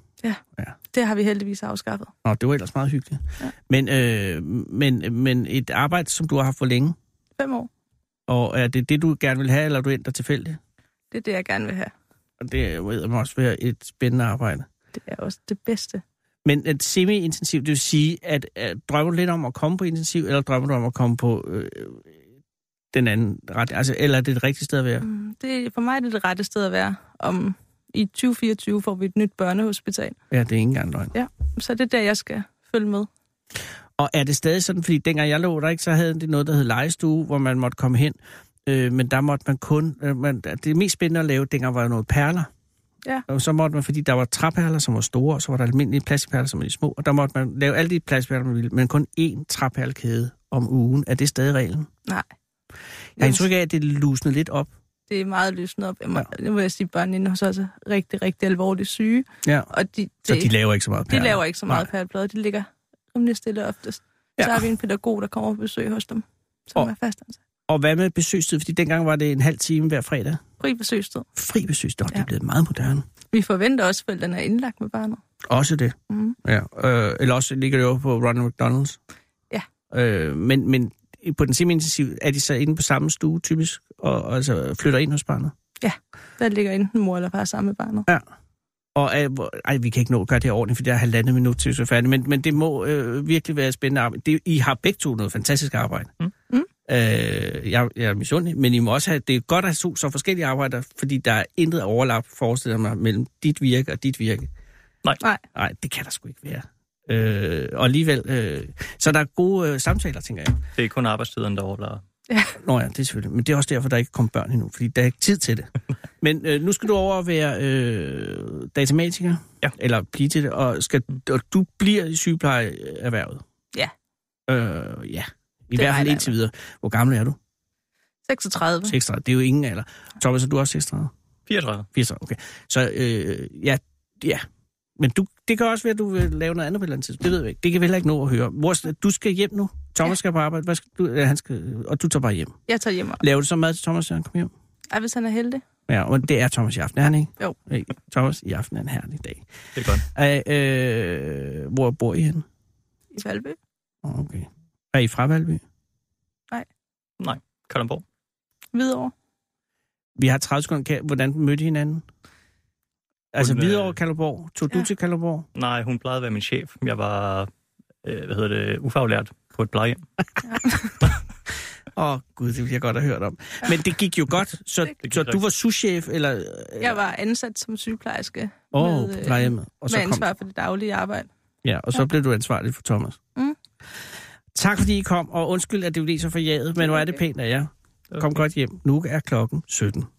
I: Det har vi heldigvis afskaffet.
D: Nå, det var ellers meget hyggeligt.
I: Ja.
D: Men, øh, men, men et arbejde, som du har haft for længe,
I: Fem år.
D: og er det det, du gerne vil have, eller er du endt der tilfældigt?
I: Det er det, jeg gerne vil have.
D: Og det ved man også være et spændende arbejde.
I: Det er også det bedste.
D: Men et semi-intensiv, det vil sige, at, at drømmer du lidt om at komme på intensiv, eller drømmer du om at komme på øh, den anden ret? Altså, eller er det et rigtigt sted at være?
I: Mm, Det, er- for mig er det det rette sted at være. Om, I 2024 får vi et nyt børnehospital,
D: Ja, det er ikke engang løgn.
I: så det er der, jeg skal følge med.
D: Og er det stadig sådan, fordi dengang jeg lå der ikke, så havde det noget, der hed legestue, hvor man måtte komme hen. Øh, men der måtte man kun... Øh, man, det mest spændende at lave, dengang var jo noget perler.
I: Ja.
D: Og så måtte man, fordi der var træperler, som var store, og så var der almindelige plastikperler, som var de små. Og der måtte man lave alle de plastikperler, man ville, men kun én træperlekæde om ugen. Er det stadig reglen?
I: Nej.
D: Jeg har indtryk af, at det lusnede lidt op.
I: Det er meget lysende op. Jeg må, Nu vil jeg sige, at børnene inde hos os er rigtig, rigtig alvorligt syge.
D: Ja.
I: Og de, det,
D: Så de laver ikke så meget
I: de
D: perler.
I: laver ikke så meget
D: Nej.
I: pærleblad. De ligger rimelig stille oftest.
D: Ja.
I: Ja. Så har vi en pædagog, der kommer på besøg hos dem, som
D: Og-
I: er fastansat.
D: Og hvad med besøgstid? Fordi dengang var det en halv time hver fredag.
I: Fri besøgstid.
D: Fri besøgstid. Ja. Det er
I: Ja.
D: blevet meget moderne.
I: Vi forventer også, at forældrene er indlagt med barnet.
D: Også det.
I: Mhm.
D: Ja. Øh, eller også ligger det jo på Ronald McDonald's.
I: Ja.
D: Øh, men, men på den semi-intensiv, er de så inde på samme stue typisk, og, og altså flytter ind hos barnet?
I: Der ligger enten mor eller far sammen med barnet.
D: Og er, hvor- ej, vi kan ikke nå at gøre det her ordentligt, for der er halvandet minut til, vi er færdige. Men, men det må øh, virkelig være et spændende arbejde. Det, I har begge to noget fantastisk arbejde.
J: Mm.
I: Mm.
D: Øh, jeg, jeg er misundelig, men I må også have, det er godt at have to så forskellige arbejder, fordi der er intet overlap, forestiller jeg mig, mellem dit virke og dit virke.
I: Nej,
D: Nej, det kan der sgu ikke være. Øh, og alligevel, øh, så der er gode øh, samtaler, tænker jeg.
J: Det er kun arbejdstiden, der overlader.
D: Nå ja, det er selvfølgelig. Men det er også derfor, der ikke kom børn endnu, fordi der er ikke tid til det. Men øh, nu skal du over og være øh, datamatiker,
J: Ja.
D: eller blive til det, og, skal, og du bliver i sygeplejeerhvervet.
I: Ja.
D: Øh, ja. I hvert
I: Det regner
D: fald
I: jeg
D: indtil videre. Hvor gammel er du?
I: 36.
D: 36. Det er jo ingen alder. Thomas, er du også 36?
J: 34.
D: 34, okay. Så øh, ja, ja. Men du, det kan også være, at du vil lave noget andet på et eller andet tidspunkt. Det ved vi ikke. Det kan vi heller ikke nå at høre. Mor, du skal hjem nu. Thomas ja.
I: Ja.
D: skal på arbejde. Hvad skal du, ja, han skal, og du tager bare hjem.
I: Jeg tager hjem. og-
D: Laver du så mad til Thomas, når han kommer hjem?
I: Ej, hvis han er heldig.
D: Ja, og det er Thomas i aften, er han ikke?
I: Jo.
D: Hey, Thomas i aften er en herlig dag.
J: Det er godt.
D: Er, øh, hvor bor I henne?
I: I Valby.
D: Åh, Okay. Er I fra Valby?
J: Kalundborg.
I: Hvidovre.
D: Vi har 30 sekunder. Kan- Hvordan mødte I hinanden? Altså
J: Hun, øh,
D: Hvidovre, Kalderborg. Tog ja. du
I: Ja.
D: til Kalderborg?
J: Nej, hun plejede at være min chef. Jeg var, øh, hvad hedder det, ufaglært på et plejehjem.
D: Åh, oh, gud, det ville jeg godt have hørt om. Men det gik jo godt, så,
J: gik
D: så du
J: rigtig.
D: var souschef, eller... øh,
I: Jeg var ansat som sygeplejerske
D: Åh,
I: med,
D: på
I: øh,
D: plejehjemmet. Og så
I: med
D: kom,
I: ansvar for det daglige arbejde.
D: ja, og så
I: Ja.
D: blev du ansvarlig for Thomas.
I: Mm.
D: Tak fordi I kom, og undskyld, at det blev så for jaget, men hvor er det
I: okay.
D: pænt af jer.
J: Okay.
D: Kom godt hjem. Nu er klokken 17.